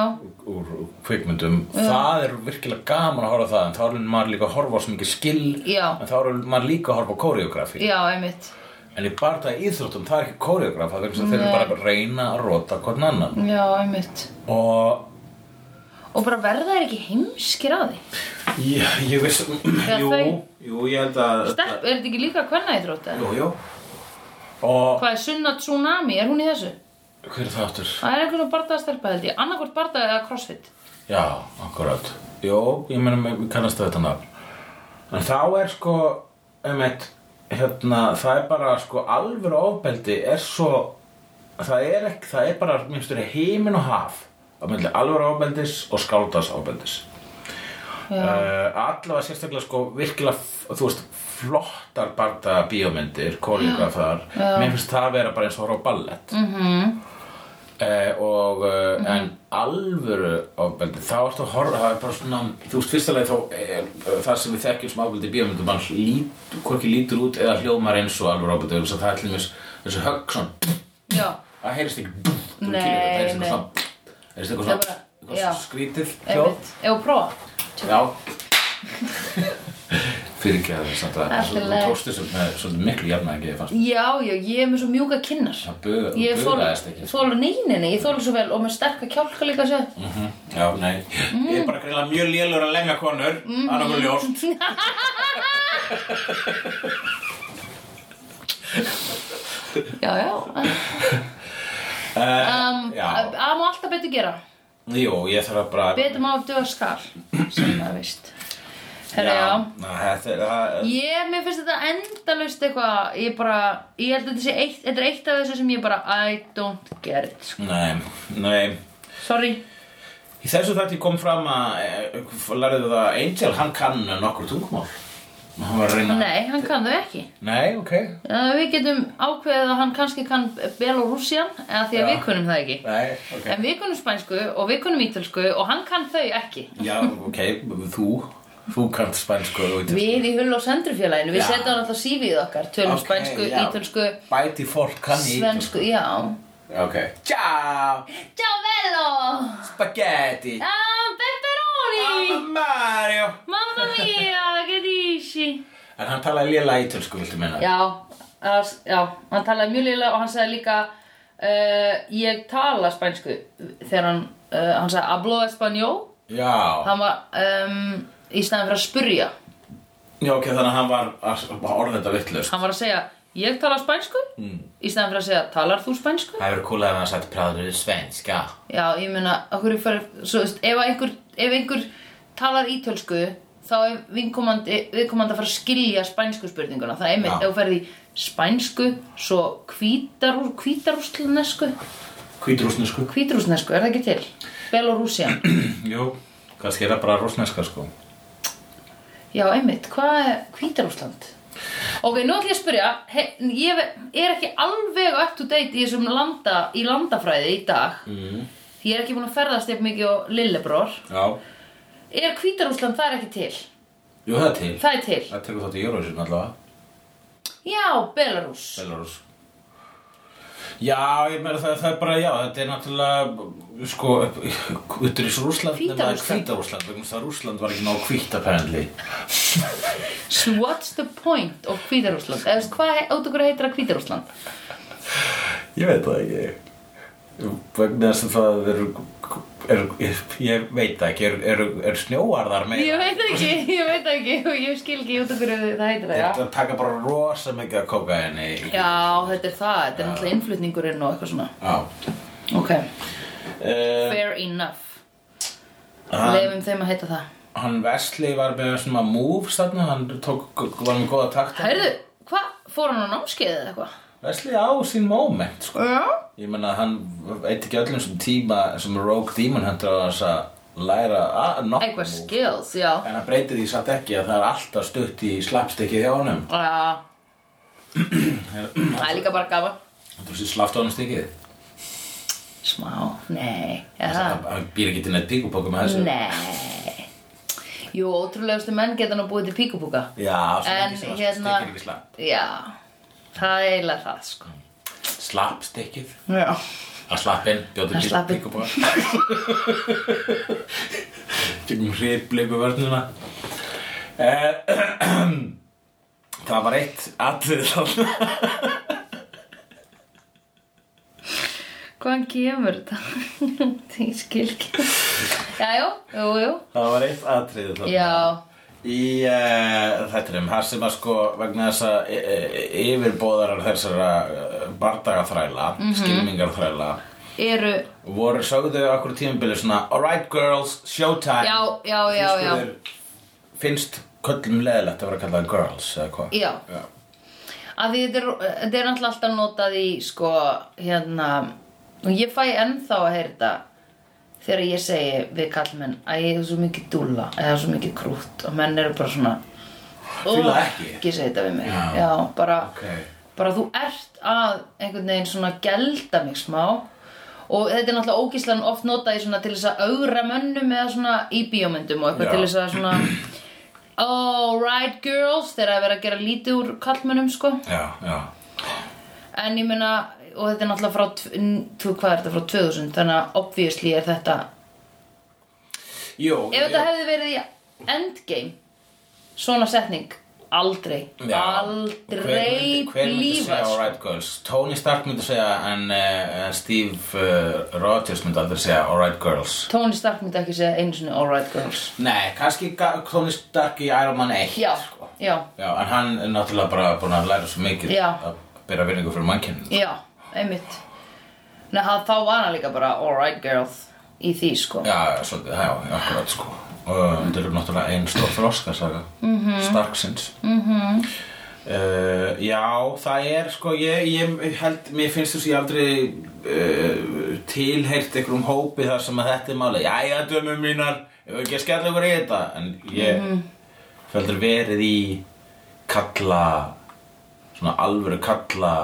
C: úr úr kvikmyndum það er virkilega gaman að horfa á það en þá er maður líka að horfa á svo mikið skill
B: Já.
C: en þá er maður líka að horfa á koreografi
B: já, einmitt.
C: en í bardaga íþróttum það er ekki koreograf það er þeir eru bara að reyna að rota hvern annan
B: Já, einmitt.
C: og
B: Og bara verða þeir ekki heimskir að því.
C: Já, ég veist,
B: Þegar
C: jú,
B: þau-
C: jú, ég held að
B: Stelp, er þetta ekki líka hvenna í þrótt, eða?
C: Jú, jú Og,
B: Hvað er Sunna Tsunami, er hún í þessu?
C: hver er það aftur?
B: Það er einhvern veginn bardaðastelpa, held ég. Annarkvort bardaði eða crossfit.
C: Já, akkurat Jú, ég meina, mér- mér kannast að þetta nafn En þá er sko, einmitt, hérna, það er bara sko alvöru ofbeldi er svo Það er ekki, það er bara, mér finnst þetta heimin og haf á milli alvöru ofbeldis og skáldas ofbeldis
B: Já,
C: uh, allavega sérstaklega sko virkilega, f- þú veist, flottar barda bíómyndir, koreografar mér finnst það að vera bara eins og horf á ballett mm og uh,
B: Mhm.
C: en alvöru ofbeldi, þá ertu að horfa það er bara svona, þú veist, fyrsta leið þá er, það sem við þekkjum sem ofbeldi í bíómyndum mann lít, hvorki lítur út eða hljómar eins og alvöru ofbeldi, þess að það er til mér þessu högg svona,
B: já,
C: það heyrist ekki þú
B: Nei,
C: kýlir þetta, heyrist
B: nei.
C: eitthvað svona heyrist eitthvað
B: Það er
C: svona,
B: bara-
C: eitthvað
B: já.
C: svona skrítið hljóð
B: einmitt. Ef og prófa. [laughs]
C: Já Fyrir ekki að það er samt að
B: Allt í
C: Þú
B: lagi.
C: tókst þessu með svolítið miklu jafna ekki ég fannst
B: Já, já, ég er með svo mjúka kinnar
C: Það buga,
B: Ég
C: bugaðist ekki sko.
B: þólu neyninni, ég þólu svo vel og með sterka kjálka líka sér
C: Mhm, Já, nei Ég er bara greinlega mjög lélur að lemja konur Það er nokkuð ljóst
B: Já, já, um,
C: Eh, já.
B: það má alltaf betur gera
C: Jú, ég þarf að bara
B: Betur má að duga skal, sem það veist Herra, já,
C: Ná, þetta er það
B: Ég, mér finnst þetta endalaust eitthvað Ég bara, ég held að þetta sé eitt Þetta er eitt af þessu sem ég bara I don't get it, sko
C: Nei, nei
B: Sorry,
C: Í þessu þætti kom fram að eh, Lærðu það að Angel, hann kann nokkur tungumál Hann var að reyna
B: nei, hann kann þau ekki
C: Nei, ok
B: Uh, við getum ákveðið að hann kannski kann Belorussian, eða því að
C: Já.
B: við kunum það ekki.
C: Nei, ok
B: En við kunum spænsku og við kunum ítölsku og hann kann þau ekki.
C: Já, ok, þú Þú kannt spænsku og ítölsku.
B: Við í Hull og Sendrufjölaginu, við
C: Já.
B: setjum hann alltaf sífið okkar, tölum
C: Ok,
B: spænsku,
C: já.
B: ítölsku,
C: By default kann ég
B: svensku, já.
C: ítölsku. Ok Ciao,
B: Ciao bello!
C: spaghetti
B: Ah, pepperoni!
C: Mamma Mario
B: Mamma mia, che dici?
C: En hann talaði léla ítölsku, viltu meina
B: Já, að, já, hann talaði mjög liðlega og hann sagði líka uh, ég tala spænsku þegar hann, uh, hann sagði hablo espanjó
C: Já,
B: hann var um, í staðan fyrir að spurja
C: Já, ok, þannig að hann var að orða þetta vittlust
B: hann var að segja ég tala spænsku í staðan fyrir að segja talar þú spænsku
C: Það hefur kúlega hann sagt Praður er svenska
B: já ég meina okkur fyrir, svo, veist, ef, að einhver, ef einhver talar ítölsku þá er vinkomandi, viðkomandi að fara að skilja spænsku spurninguna það er einmitt
C: Já.
B: ef þú ferði spænsku svo hvítarú, hvítarúslinesku
C: Hvítrúsnesku
B: hvítarúsnesku er það ekki til Belorússian
C: [clears throat] Jú, kannski er það bara rúsneska sko
B: Já, einmitt, hvað er Hvítarúsland? Ok, nú ætlum ég að spyrja, he, ég er ekki alveg up to date í þessum landa, í landafræði í dag. Mm. Ég er ekki búin að ferðast eitthvað mikið á Lillebror.
C: Já
B: Er Hvítarúsland, það er ekki til?
C: Jú, það er til
B: Það er til.
C: Það tekur þátt í Eurovision allavega
B: Já, Belarus.
C: Belarus Já, ég meira það, það er bara, já, þetta er náttúrulega, sko, [laughs] þetta er svo Rússland,
B: Hvíta-Rússland.
C: hvíta Rússland, vegna þess að Rússland var ekki nóg hvítt apparently.
B: So what's the point of Hvítarúsland? Eða veist, hvað át okkur heitir að Hvítarúsland?
C: Ég veit það ekki. vegna þess að það eru er, er, ég veit það ekki, er, er, er snjóarðar meira
B: Ég veit ekki, [laughs] ég veit ekki og ég skil ekki út af hverju það heitir það, já.
C: Þetta taka bara rosa mikið að kóka henni
B: Já, þetta er það, þetta er náttúrulega innflutningurinn og eitthvað svona.
C: Já.
B: Ok,
C: Eh,
B: fair enough.
C: hann,
B: Leifum þeim að heita það.
C: hann Vesli var með svona moves þarna, hann tók, var með góða takta
B: Herðu, hvað, fór hann á námskeið eða eitthvað?
C: Vesli á sín moment sko.
B: Já.
C: Ég meina hann veit ekki öllum sem tíma sem Rogue Demon Hunter á þess að læra að nokkuð
B: Eitthvað skills, já.
C: En hann breytir því satt ekki að það er alltaf stutt í slapstickið hjá honum
B: Já, það er líka bara gafa.
C: Þú veist, slaft á honum stikkið
B: Smá, nei, er það?
C: Hann hann býr ekki til neitt píkupóku með þessu
B: Nei. Jú, ótrúlegustu menn geta nú búið til píkupúka.
C: Já, svo
B: En
C: ekki sem að
B: hérna,
C: stikkið er ekki slapp
B: já, það er eiginlega það, sko.
C: Slapstickið
B: Já.
C: Að slappinn,
B: Að
C: bjóðu til
B: slappinn.
C: píkupóka Fylgum hriðbliku vörnuna Eh, [clears throat] Það var eitt atrið þarna
B: Hvaðan kemur þetta? [laughs] ég skil ekki. Já, jú, jú, jú.
C: Það var eitt atrið þarna
B: Já,
C: Í uh, þættinum, þar sem að sko vegna þess að e, e, yfirbóðarar þessara eh, bardagaþræla,
B: Mhm.
C: skilmingarþræla
B: eru,
C: voru sögðu okkur tímabili svona Alright girls, showtime
B: já, já, já,
C: Þú
B: já.
C: spurðir, Finnst köllum leðilegt að vera kallað girls eða hvað?
B: Já. Af því þetta er, þetta er náttúrulega alltaf notað í, sko, hérna, og ég fæ ennþá að heyra þetta þegar ég segi við kallmenn að ég er svo mikið dúlla eða svo mikið krútt og menn eru bara svona
C: Fíla
B: "Ugh,
C: ekki."
B: Ekki segja þetta við mig.
C: Já.
B: bara,
C: Ok.
B: bara þú ert að einhvern veginn svona gelda mig smá og þetta er náttúrulega ógíslan oft notað í svona til þess að augra mönnum eða svona í bíómyndum og eitthvað
C: Já.
B: til þess að svona Alright girls, þegar að vera að gera lítið úr kallmönnum sko
C: Já, já
B: En ég meina, og þetta er náttúrulega frá, tv- n- tv- hvað er þetta, frá 2000, þannig að obviously er þetta
C: Jú,
B: Ef þetta hefði verið í endgame, svona setning, aldrei,
C: Já,
B: aldrei
C: hver myndi, hver myndi
B: blífa
C: segja
B: sko.
C: Alright Girls Tony Stark myndi segja en uh, Steve uh, Rogers myndi aldrei segja Alright Girls
B: Tony Stark myndi ekki segja einu sinni alright girls
C: Nei, kannski ga- Tony Stark í Iron Man 1
B: Já,
C: sko.
B: já,
C: já En hann er náttúrulega bara búin að læra svo mikið
B: Já.
C: að byrja vinningu fyrir mannkinn
B: já, einmitt Nei, hann- þá var hann líka bara alright girls í því sko
C: Já, svolítið, já, já, akkurat sko Og þetta eru náttúrulega einn stór þroskasaga mm -hmm. Starksins mm Já, það er sko ég, ég held, mér finnst þess að ég aldrei uh, tilheyrt einhverjum hópi þar sem að þetta er máli Jæja, dömur mínar, ef ekki að skella ykkur í þetta En ég mm heldur verið í kalla svona alvöru kalla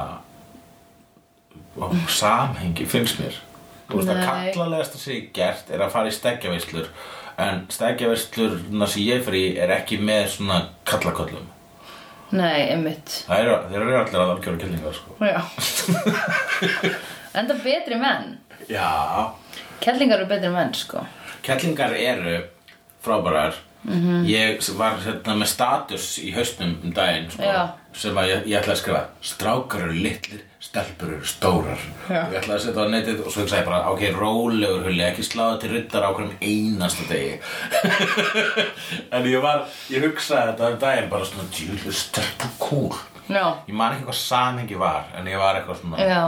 C: og samhengi finnst mér þú veist að
B: Nei.
C: kallalegasta sem ég hef gert er að fara í steggjaveislur en steggjaveislurna sem ég fer í er ekki með svona kallaköllum
B: Nei, einmitt
C: það eru, þeir eru allir að algjöra kyllingar sko [laughs]
B: Já Enda betri menn
C: já,
B: Kellingar eru betri menn sko
C: kellingar eru frábærar
B: Mhm.
C: -hmm. ég var hérna, með status í haustum um daginn sko,
B: Já.
C: sem að ég, ég ætlaði að skrifa strákar eru litlir, stelpur eru stórar
B: Já.
C: og ég ætlaði að setja á netið og svo hugsaði ég bara, ok, rólegur hulli ekki sláða til ryttar á hverjum einasta degi [laughs] en ég var ég hugsaði þetta um daginn bara svona djúlega stelpur kúl
B: Já,
C: ég man ekki hvað samhengi var en ég var eitthvað svona
B: já,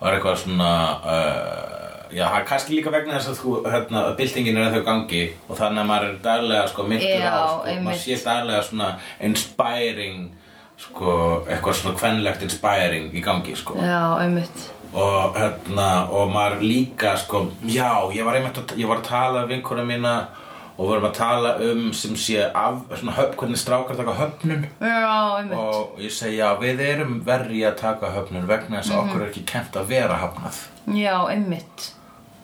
C: var eitthvað svona uh, já, það er kannski líka vegna þess að þú, hérna, að byltingin er ennþá í gangi og þannig að maður er daglega sko myndur
B: Já,
C: á sko, maður
B: einmitt.
C: sé daglega svona inspiring sko, eitthvað svona kvenlegt inspiring í gangi sko
B: já, einmitt
C: og hérna, og maður líka sko, já, ég var einmitt að, ég var að tala um vinkona mína og vorum að tala um sem sé af, svona höfn, hvernig strákar taka höfnum
B: Já, einmitt
C: og ég segja, við erum verri að taka höfnum vegna þess að
B: Mhm.
C: okkur er ekki kent að vera hafnað
B: Já, einmitt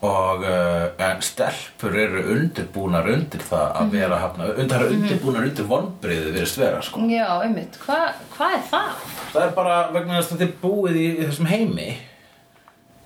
C: og uh, en stelpur eru undirbúnar undir það
B: Mhm.
C: að vera hafna und, það eru undirbúnar undir vonbriði verist vera sko.
B: Já, einmitt, Hva, hvað er það?
C: það er bara vegna þess að þið búið í, í þessum heimi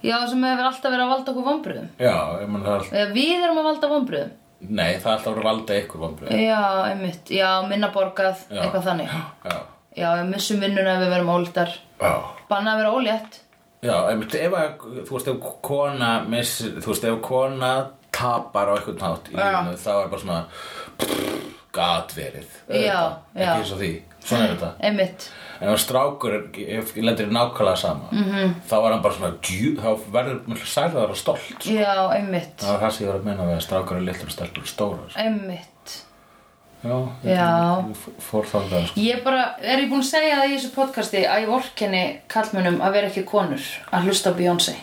B: Já, sem hefur alltaf verið að valda okkur vonbröðum
C: já, ég menn það er alltaf
B: Við erum að valda vonbröðum
C: nei, það er alltaf að valda ykkur vonbriði
B: Já, einmitt, já, minna borgað,
C: Já.
B: eitthvað þannig
C: já,
B: Já, við missum vinnuna ef við verum óléttar
C: já,
B: Banna að vera ólétt
C: Já, einmitt, ef að, þú veist, ef kona missir, þú veist, ef kona tapar á einhvern hátt í
B: Já.
C: lífinu, þá er bara svona pff, gat verið.
B: Já,
C: Auðvitað,
B: já.
C: Ekki eins og því. Svona er þetta.
B: einmitt
C: En ef strákur er- ef lendir í nákvæmlega sama, -hmm.
B: Mhm.
C: þá er hann bara svona djú, þá verður mjög særðar og stolt. sko.
B: já, einmitt,
C: Það er það sem ég var að meina við að strákur er litlur og stelpur eru stórar. sko.
B: einmitt
C: Já, ég-
B: Já.
C: ég f- fór þangað, sko.
B: ég bara, er ég búin að segja það í þessu podcasti að ég vorkenni kallmönum að vera ekki konur að hlusta á Beyoncé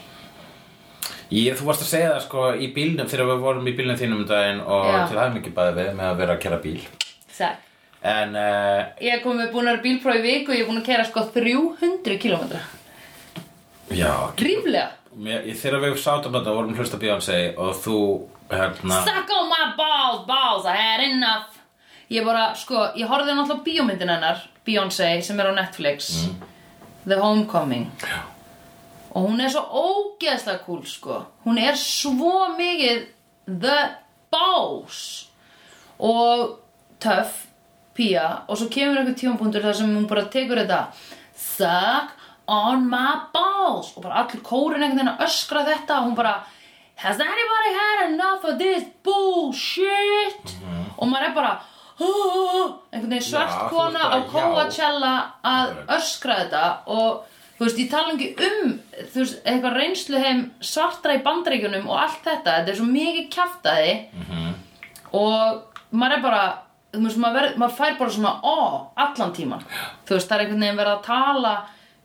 C: Ég, þú varst að segja það sko í bílnum þegar við vorum í bílnum þínum um daginn og
B: Já.
C: til aðeim ekki bæði við með að vera að kera bíl.
B: Sæk
C: En uh,
B: Ég er komið búin að vera bílpróf í viku og ég er búin að kæra sko 300 km
C: Já,
B: Ríflega
C: mér, ég- þegar við sátum þetta vorum að hlusta á Beyoncé og þú hérna
B: Suck on my balls, balls, I had enough Ég bara, sko, ég horfði náttúrulega á bíómyndin hennar Beyoncé sem er á Netflix The Homecoming
C: Já.
B: Og hún er svo ógeðslega cool, sko Hún er svo mikið The Boss Og töff pía Og svo kemur einhver tímapunktur þar sem hún bara tekur þetta Suck on my balls Og bara allir kórin einhvern veginn að öskra þetta Og hún bara Has anybody had enough of this bullshit? Og maður er bara "Ah," Einhvern veginn svart
C: Mhm. Já, þú
B: kona
C: ert
B: á
C: bara, já.
B: Coachella að
C: Alveg.
B: öskra þetta og þú veist, ég tala ekki um þú veist, eitthvað reynslu heim svartra í bandaríkjunum og allt þetta þetta er svo mikið kjaftaði og maður er bara þú veist, maður, verð, maður fær bara svona ó, allan tíman þú veist, það er einhvern veginn verið að tala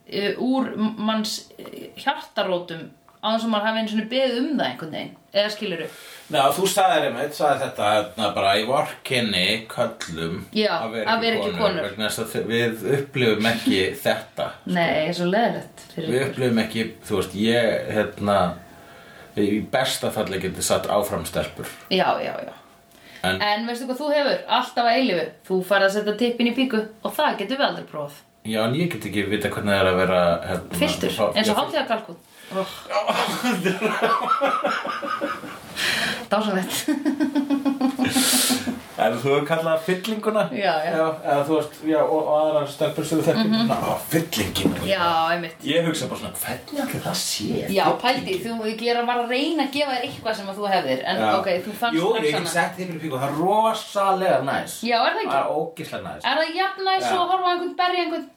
B: uh, úr manns uh, hjartarótum á þess að maður hafi einu svona beðið um það einhvern veginn eða skilur upp
C: Ná, þú sagðir einmitt, sagði þetta hérna, bara í vorkinni köllum
B: Já, að vera ekki konur.
C: vegna þess að þau- við upplifum
B: [laughs]
C: ekki þetta
B: nei, svo leðilegt fyrir
C: við
B: ykkur
C: upplifum ekki, þú veist, ég hérna í besta falli geti satt áfram stelpur
B: já, já, já
C: en,
B: En veistu hvað þú hefur? Alltaf að eilífu. Þú farið að setja tippin í píku og það getur við aldrei prófað.
C: já, en ég get ekki vita hvernig það er að vera hérna,
B: Fylltur,
C: fá-
B: eins
C: já,
B: og hátíðarkalkun. Oh. Dásanlegt.
C: En þú hefur kallað það fyllinguna?
B: Já, já.
C: eða þú veist, já, og, og aðra stöppur sem þú þekkir. Mm -hmm. Ná, fyllingin.
B: [laughs] Já, einmitt.
C: Ég hugsa bara svona, hvernig allir það sé?
B: Já, pældi, þú ég er að bara reyna að gefa þér eitthvað sem að þú hefðir. En ok, þú fannst
C: Jú, ég
B: hana.
C: hef sett þig fyrir píku, það er rosalega næs.
B: Já, er það ekki?
C: Það er ógislega næs.
B: Er það jafnæg svo
C: Já.
B: að horfa á einhvern berja einhvern? [laughs]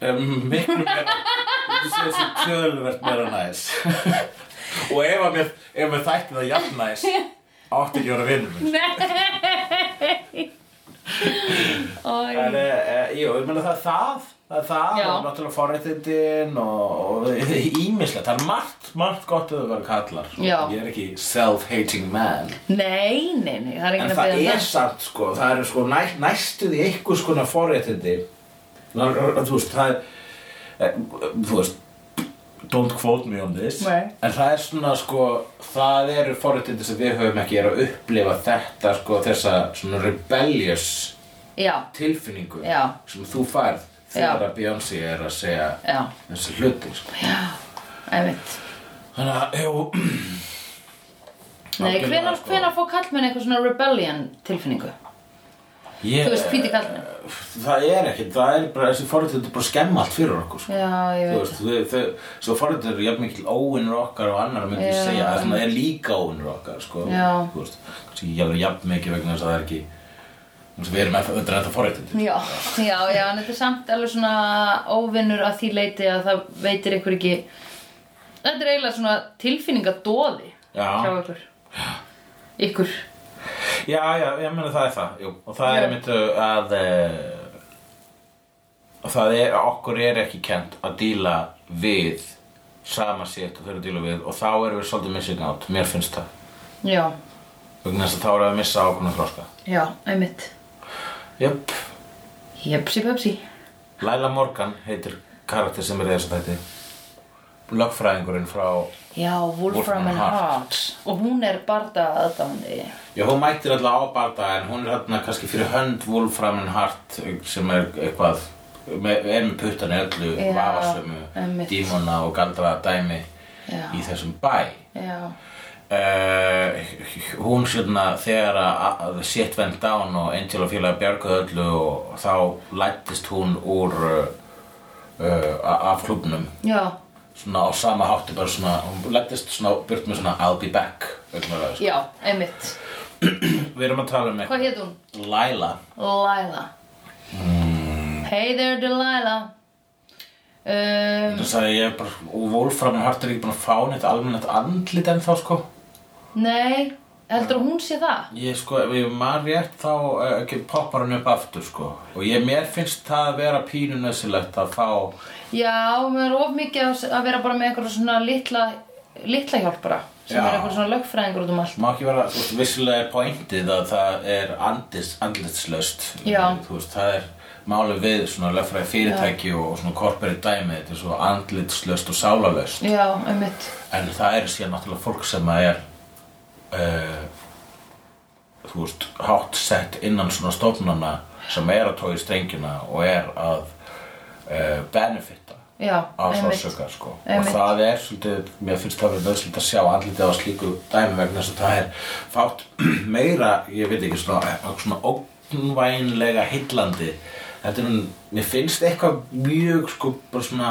C: Um, miklu meira, [laughs] þú sé þessi tölvert meira næs. [laughs] og ef að mér, ef mér þætti það jafn næs, átti ekki að vera vinnum
B: [laughs]
C: minn. En,
B: Æ,
C: uh, jú, ég meina það er það, það er það
B: Já.
C: og náttúrulega forréttindin og og ímislegt, það er margt, margt gott að það vera kallar.
B: Já.
C: Ég er ekki self-hating man.
B: Nei, nei, nei, það er
C: En
B: ekki að
C: það
B: beða
C: er
B: það.
C: samt, sko, það eru sko næ, næstuð í einhvers konar forréttindi. Það er, þú veist, það er, eh, þú veist, don't quote me on this.
B: Nei.
C: En það er svona, sko, það eru forréttindi sem við höfum ekki er að upplifa þetta, sko, þessa svona rebellious
B: Já,
C: tilfinningu
B: Já.
C: sem þú færð þegar
B: Já.
C: að Beyoncé er að segja
B: já,
C: þessi hluti sko.
B: já, einmitt.
C: þannig að [clears throat] ef
B: Nei,
C: Algjörlega,
B: hvenar,
C: sko.
B: hvenar fá kallmenn eitthvað svona rebellion tilfinningu?
C: ég,
B: Þú veist, hvíti kallmenn.
C: það er ekki, það er bara þessi forréttindi bara skemma allt fyrir okkur sko.
B: Já, ég
C: þú
B: veit
C: veist, þau, þau, svo forréttindi eru jafn mikil óvinnur okkar og annar myndi ég
B: Já,
C: segja það sem það er líka óvinnur okkar sko.
B: Já.
C: þú veist, kannski ekki alveg jafn mikið vegna þess að það er ekki þú veist, við erum eftir undir þetta forréttindi
B: Já, já, já, en þetta er samt alveg svona óvinnur að því leiti að það veitir ykkur ekki Þetta er eiginlega svona tilfinningadóði
C: Já.
B: hjá ykkur Ykkur
C: já, já, ég meina það er það jú. og það
B: Já.
C: er einmitt uh, að uh, og það er að okkur er ekki kent að díla við sama sétt og þau eru að díla við og þá erum við svolítið missing out, mér finnst það
B: Já,
C: vegna þess að þá erum við að missa ákveðna þroska
B: já, einmitt
C: Jöp,
B: Jepsi pepsi
C: Laila Morgan heitir karakter sem er í þessu þætti lögfræðingurinn frá
B: Já, Wolfram
C: Wolfram
B: and
C: Heart.
B: Hearts Og hún er barða aðdándi
C: Já, hún mætir alltaf á barða en hún er hérna kannski fyrir hönd Wolfram and Hart sem er eitthvað með, er með puttan í öllu
B: Já,
C: vafasömu
B: einmitt.
C: dímona og galdra dæmi
B: Já.
C: í þessum bæ
B: Já,
C: Uh, hún sérna þegar að að shit went down og Angel og félaga bjargaði öllu og þá lættist hún úr uh, uh, eh, af klubnum
B: já,
C: svona á sama hátti bara svona, hún lættist svona burt með svona I'll be back augnaráði, sko.
B: Já, einmitt.
C: Við erum að tala
B: Hvað
C: um eitthvað
B: hétt hún?
C: Laila
B: Lila.
C: Mm.
B: Hey there Delilah. Um,
C: Þess að ég er bara, og Wolfram er hartur ekki búin að fá neitt almennett andlit en þá sko
B: nei, heldur hún sé það?
C: Ég sko, ef ég man rétt þá eh, ekki, poppar hann upp aftur sko Og ég, mér finnst það að vera pínu nöðsilegt að fá
B: Já, mér er of mikið að- að vera bara með einhverja svona litla, litla hjálpara sem
C: Já.
B: er einhverja svona lögfræðingur út um allt.
C: Má ekki vera, þú veist, vissilega er pointið að það er andis, andlitslaust
B: Já.
C: Þú veist, það er málið við svona lögfræði fyrirtæki og, og svona corporate dæmi Þetta er svo andlitslaust og sálalaust
B: Já, einmitt.
C: En það er síðan náttúrulega fólk sem að er uh, þú veist, hátt sett innan svona stofnana sem er að tói strengina og er að uh, benefita
B: Já,
C: á
B: einmitt.
C: sársöka sko. og
B: Einmitt.
C: það er svolítið, mér finnst það verið nöðslut að sjá andlitið á slíku dæmi vegna þess að það er fátt [clears throat] meira ég veit ekki, svona, svona ógnvænlega heillandi þetta er, nú- mér finnst eitthvað mjög sko, bara svona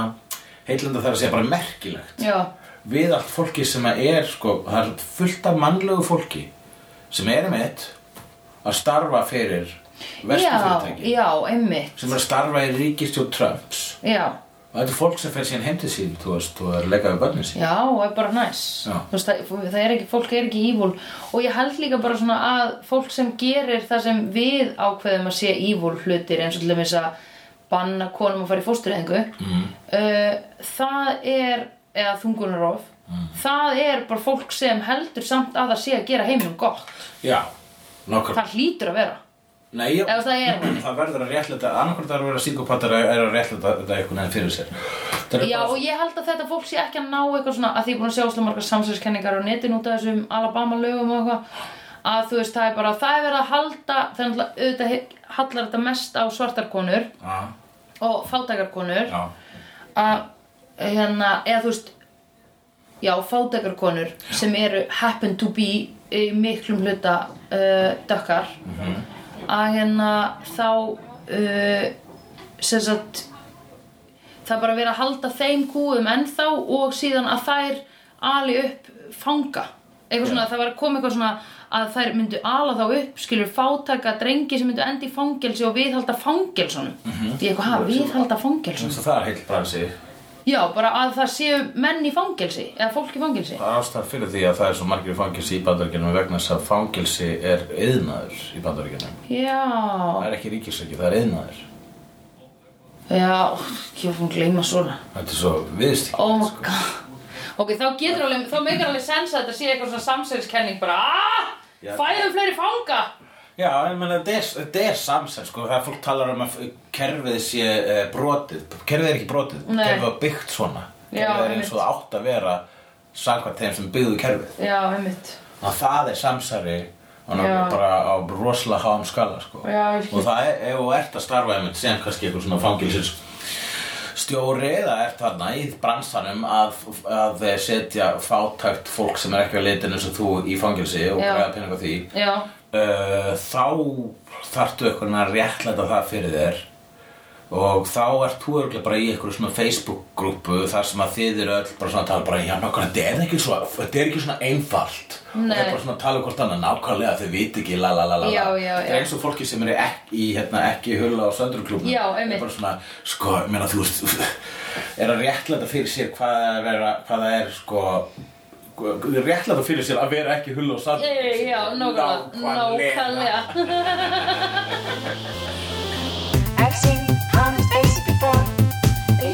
C: heillandi þar að segja bara merkilegt
B: Já,
C: við allt fólki sem að er sko, það er fullt af mannlegu fólki sem er um eitt að starfa fyrir
B: já,
C: verslunfyrirtæki
B: já, einmitt.
C: sem er að starfa í ríkistjóð Trumps
B: Já,
C: og þetta er fólk sem fer síðan heim til sín þú veist, og er að leika við börnin sín
B: já, og er bara næs.
C: Já.
B: Þú Veist, það, það er ekki, fólk er ekki ívúl og ég held líka bara svona að fólk sem gerir það sem við ákveðum að sé ívúl hlutir eins og til dæmis að banna konum að fara í fóstureyðingu mm. það er eða þungunarof það er bara fólk sem heldur samt að það sé að gera heiminum gott
C: já, nokkur
B: það hlýtur að vera
C: Nei, já,
B: Ef það er hún.
C: það verður að réttlæta annarkvært að vera síkopatar er að réttlæta þetta einhvern veginn fyrir sér Það er
B: Já,
C: bara-
B: og ég held að þetta fólk sé ekki að ná eitthvað svona að því ég er búin að sjá slá margar samsæðiskenningar á netin út af þessum Alabama lögum og eitthvað að þú veist, það er bara, það er verið að halda þannig að auðvitað he- hallar þetta mest á svartarkonur
C: Já,
B: og fátækarkonur
C: já,
B: að, hérna, eða þú veist já, fátækarkonur sem eru happen to be í miklum hluta uh, dökkar að hérna þá uh, sem sagt það er bara verið að halda þeim kúum ennþá og síðan að þær ali upp fanga eitthvað svona, það var að koma eitthvað svona að þær myndu ala þá upp, skilur fátaka drengi sem myndu enda í fangelsi og viðhalda fangelsunum mm -hmm. því eitthvað, ha, viðhalda fangelsunum
C: Svo það er heill bransi
B: já, bara að það séu menn í fangelsi eða fólk í fangelsi
C: Það er ástæðan fyrir því að það er svo margir í fangelsi í bandaríkjunum vegna þess að fangelsi er yðnaður í bandaríkjunum. Það
B: já,
C: er ekki ríkisriki, það er yðnaður.
B: já, ó, ég var fann gleyma svona
C: Þetta er svo viðstík.
B: oh my god ok, þá getur alveg, þá meikar alveg sens að þetta sé eitthvað svona samsæðiskenning bara, aaaah,
C: Já.
B: fæðum fleiri fanga
C: Já, en menna, þetta er, þetta er samsæð, sko. Það er fólk talar um að kerfið sé e, brotið. Kerfið er ekki brotið.
B: Nei.
C: Kerfið var byggt svona.
B: Já,
C: kerfið er
B: einmitt.
C: eins og það átt að vera sakvað þeim sem byggðu kerfið.
B: já, einmitt
C: Að það er samsæri og ná,
B: Já.
C: bara á rosalega háum skala, sko.
B: Já, ég skil.
C: og það er, ef þú ert að starfa einmitt sem kannski eitthvað svona fangilsins stjóri eða ert þarna í bransanum að, að setja fátækt fólk sem er ekki að leita eins og þú í fangilsi og
B: Já.
C: græða pening á því
B: já,
C: uh, þá þarftu eitthvað að réttlæta það fyrir þér og þá ert þú örgulega bara í einhverju svona Facebook-grúpu þar sem að þið eru öll bara svona að tala bara já nákvæmlega, þetta er ekki svona, þetta er ekki svona einfalt og
B: Nei.
C: það er bara svona að tala um hvort annað nákvæmlega þau viti ekki la la la la la.
B: Já, já, já.
C: þetta er eins og fólki sem eru ekki, í, hérna, ekki hulla á söndurklúbnum
B: Já,
C: Það
B: einmitt.
C: er bara svona, sko, ég meina þú veist [laughs] er að réttlæta fyrir sér hvað það er, að vera- hvað það er sko réttlæta fyrir sér að vera ekki hulla á söndurklúbnum
B: Ég- Eh, Já, nákvæmlega, nákvæmlega
D: I've seen honest faces before. They're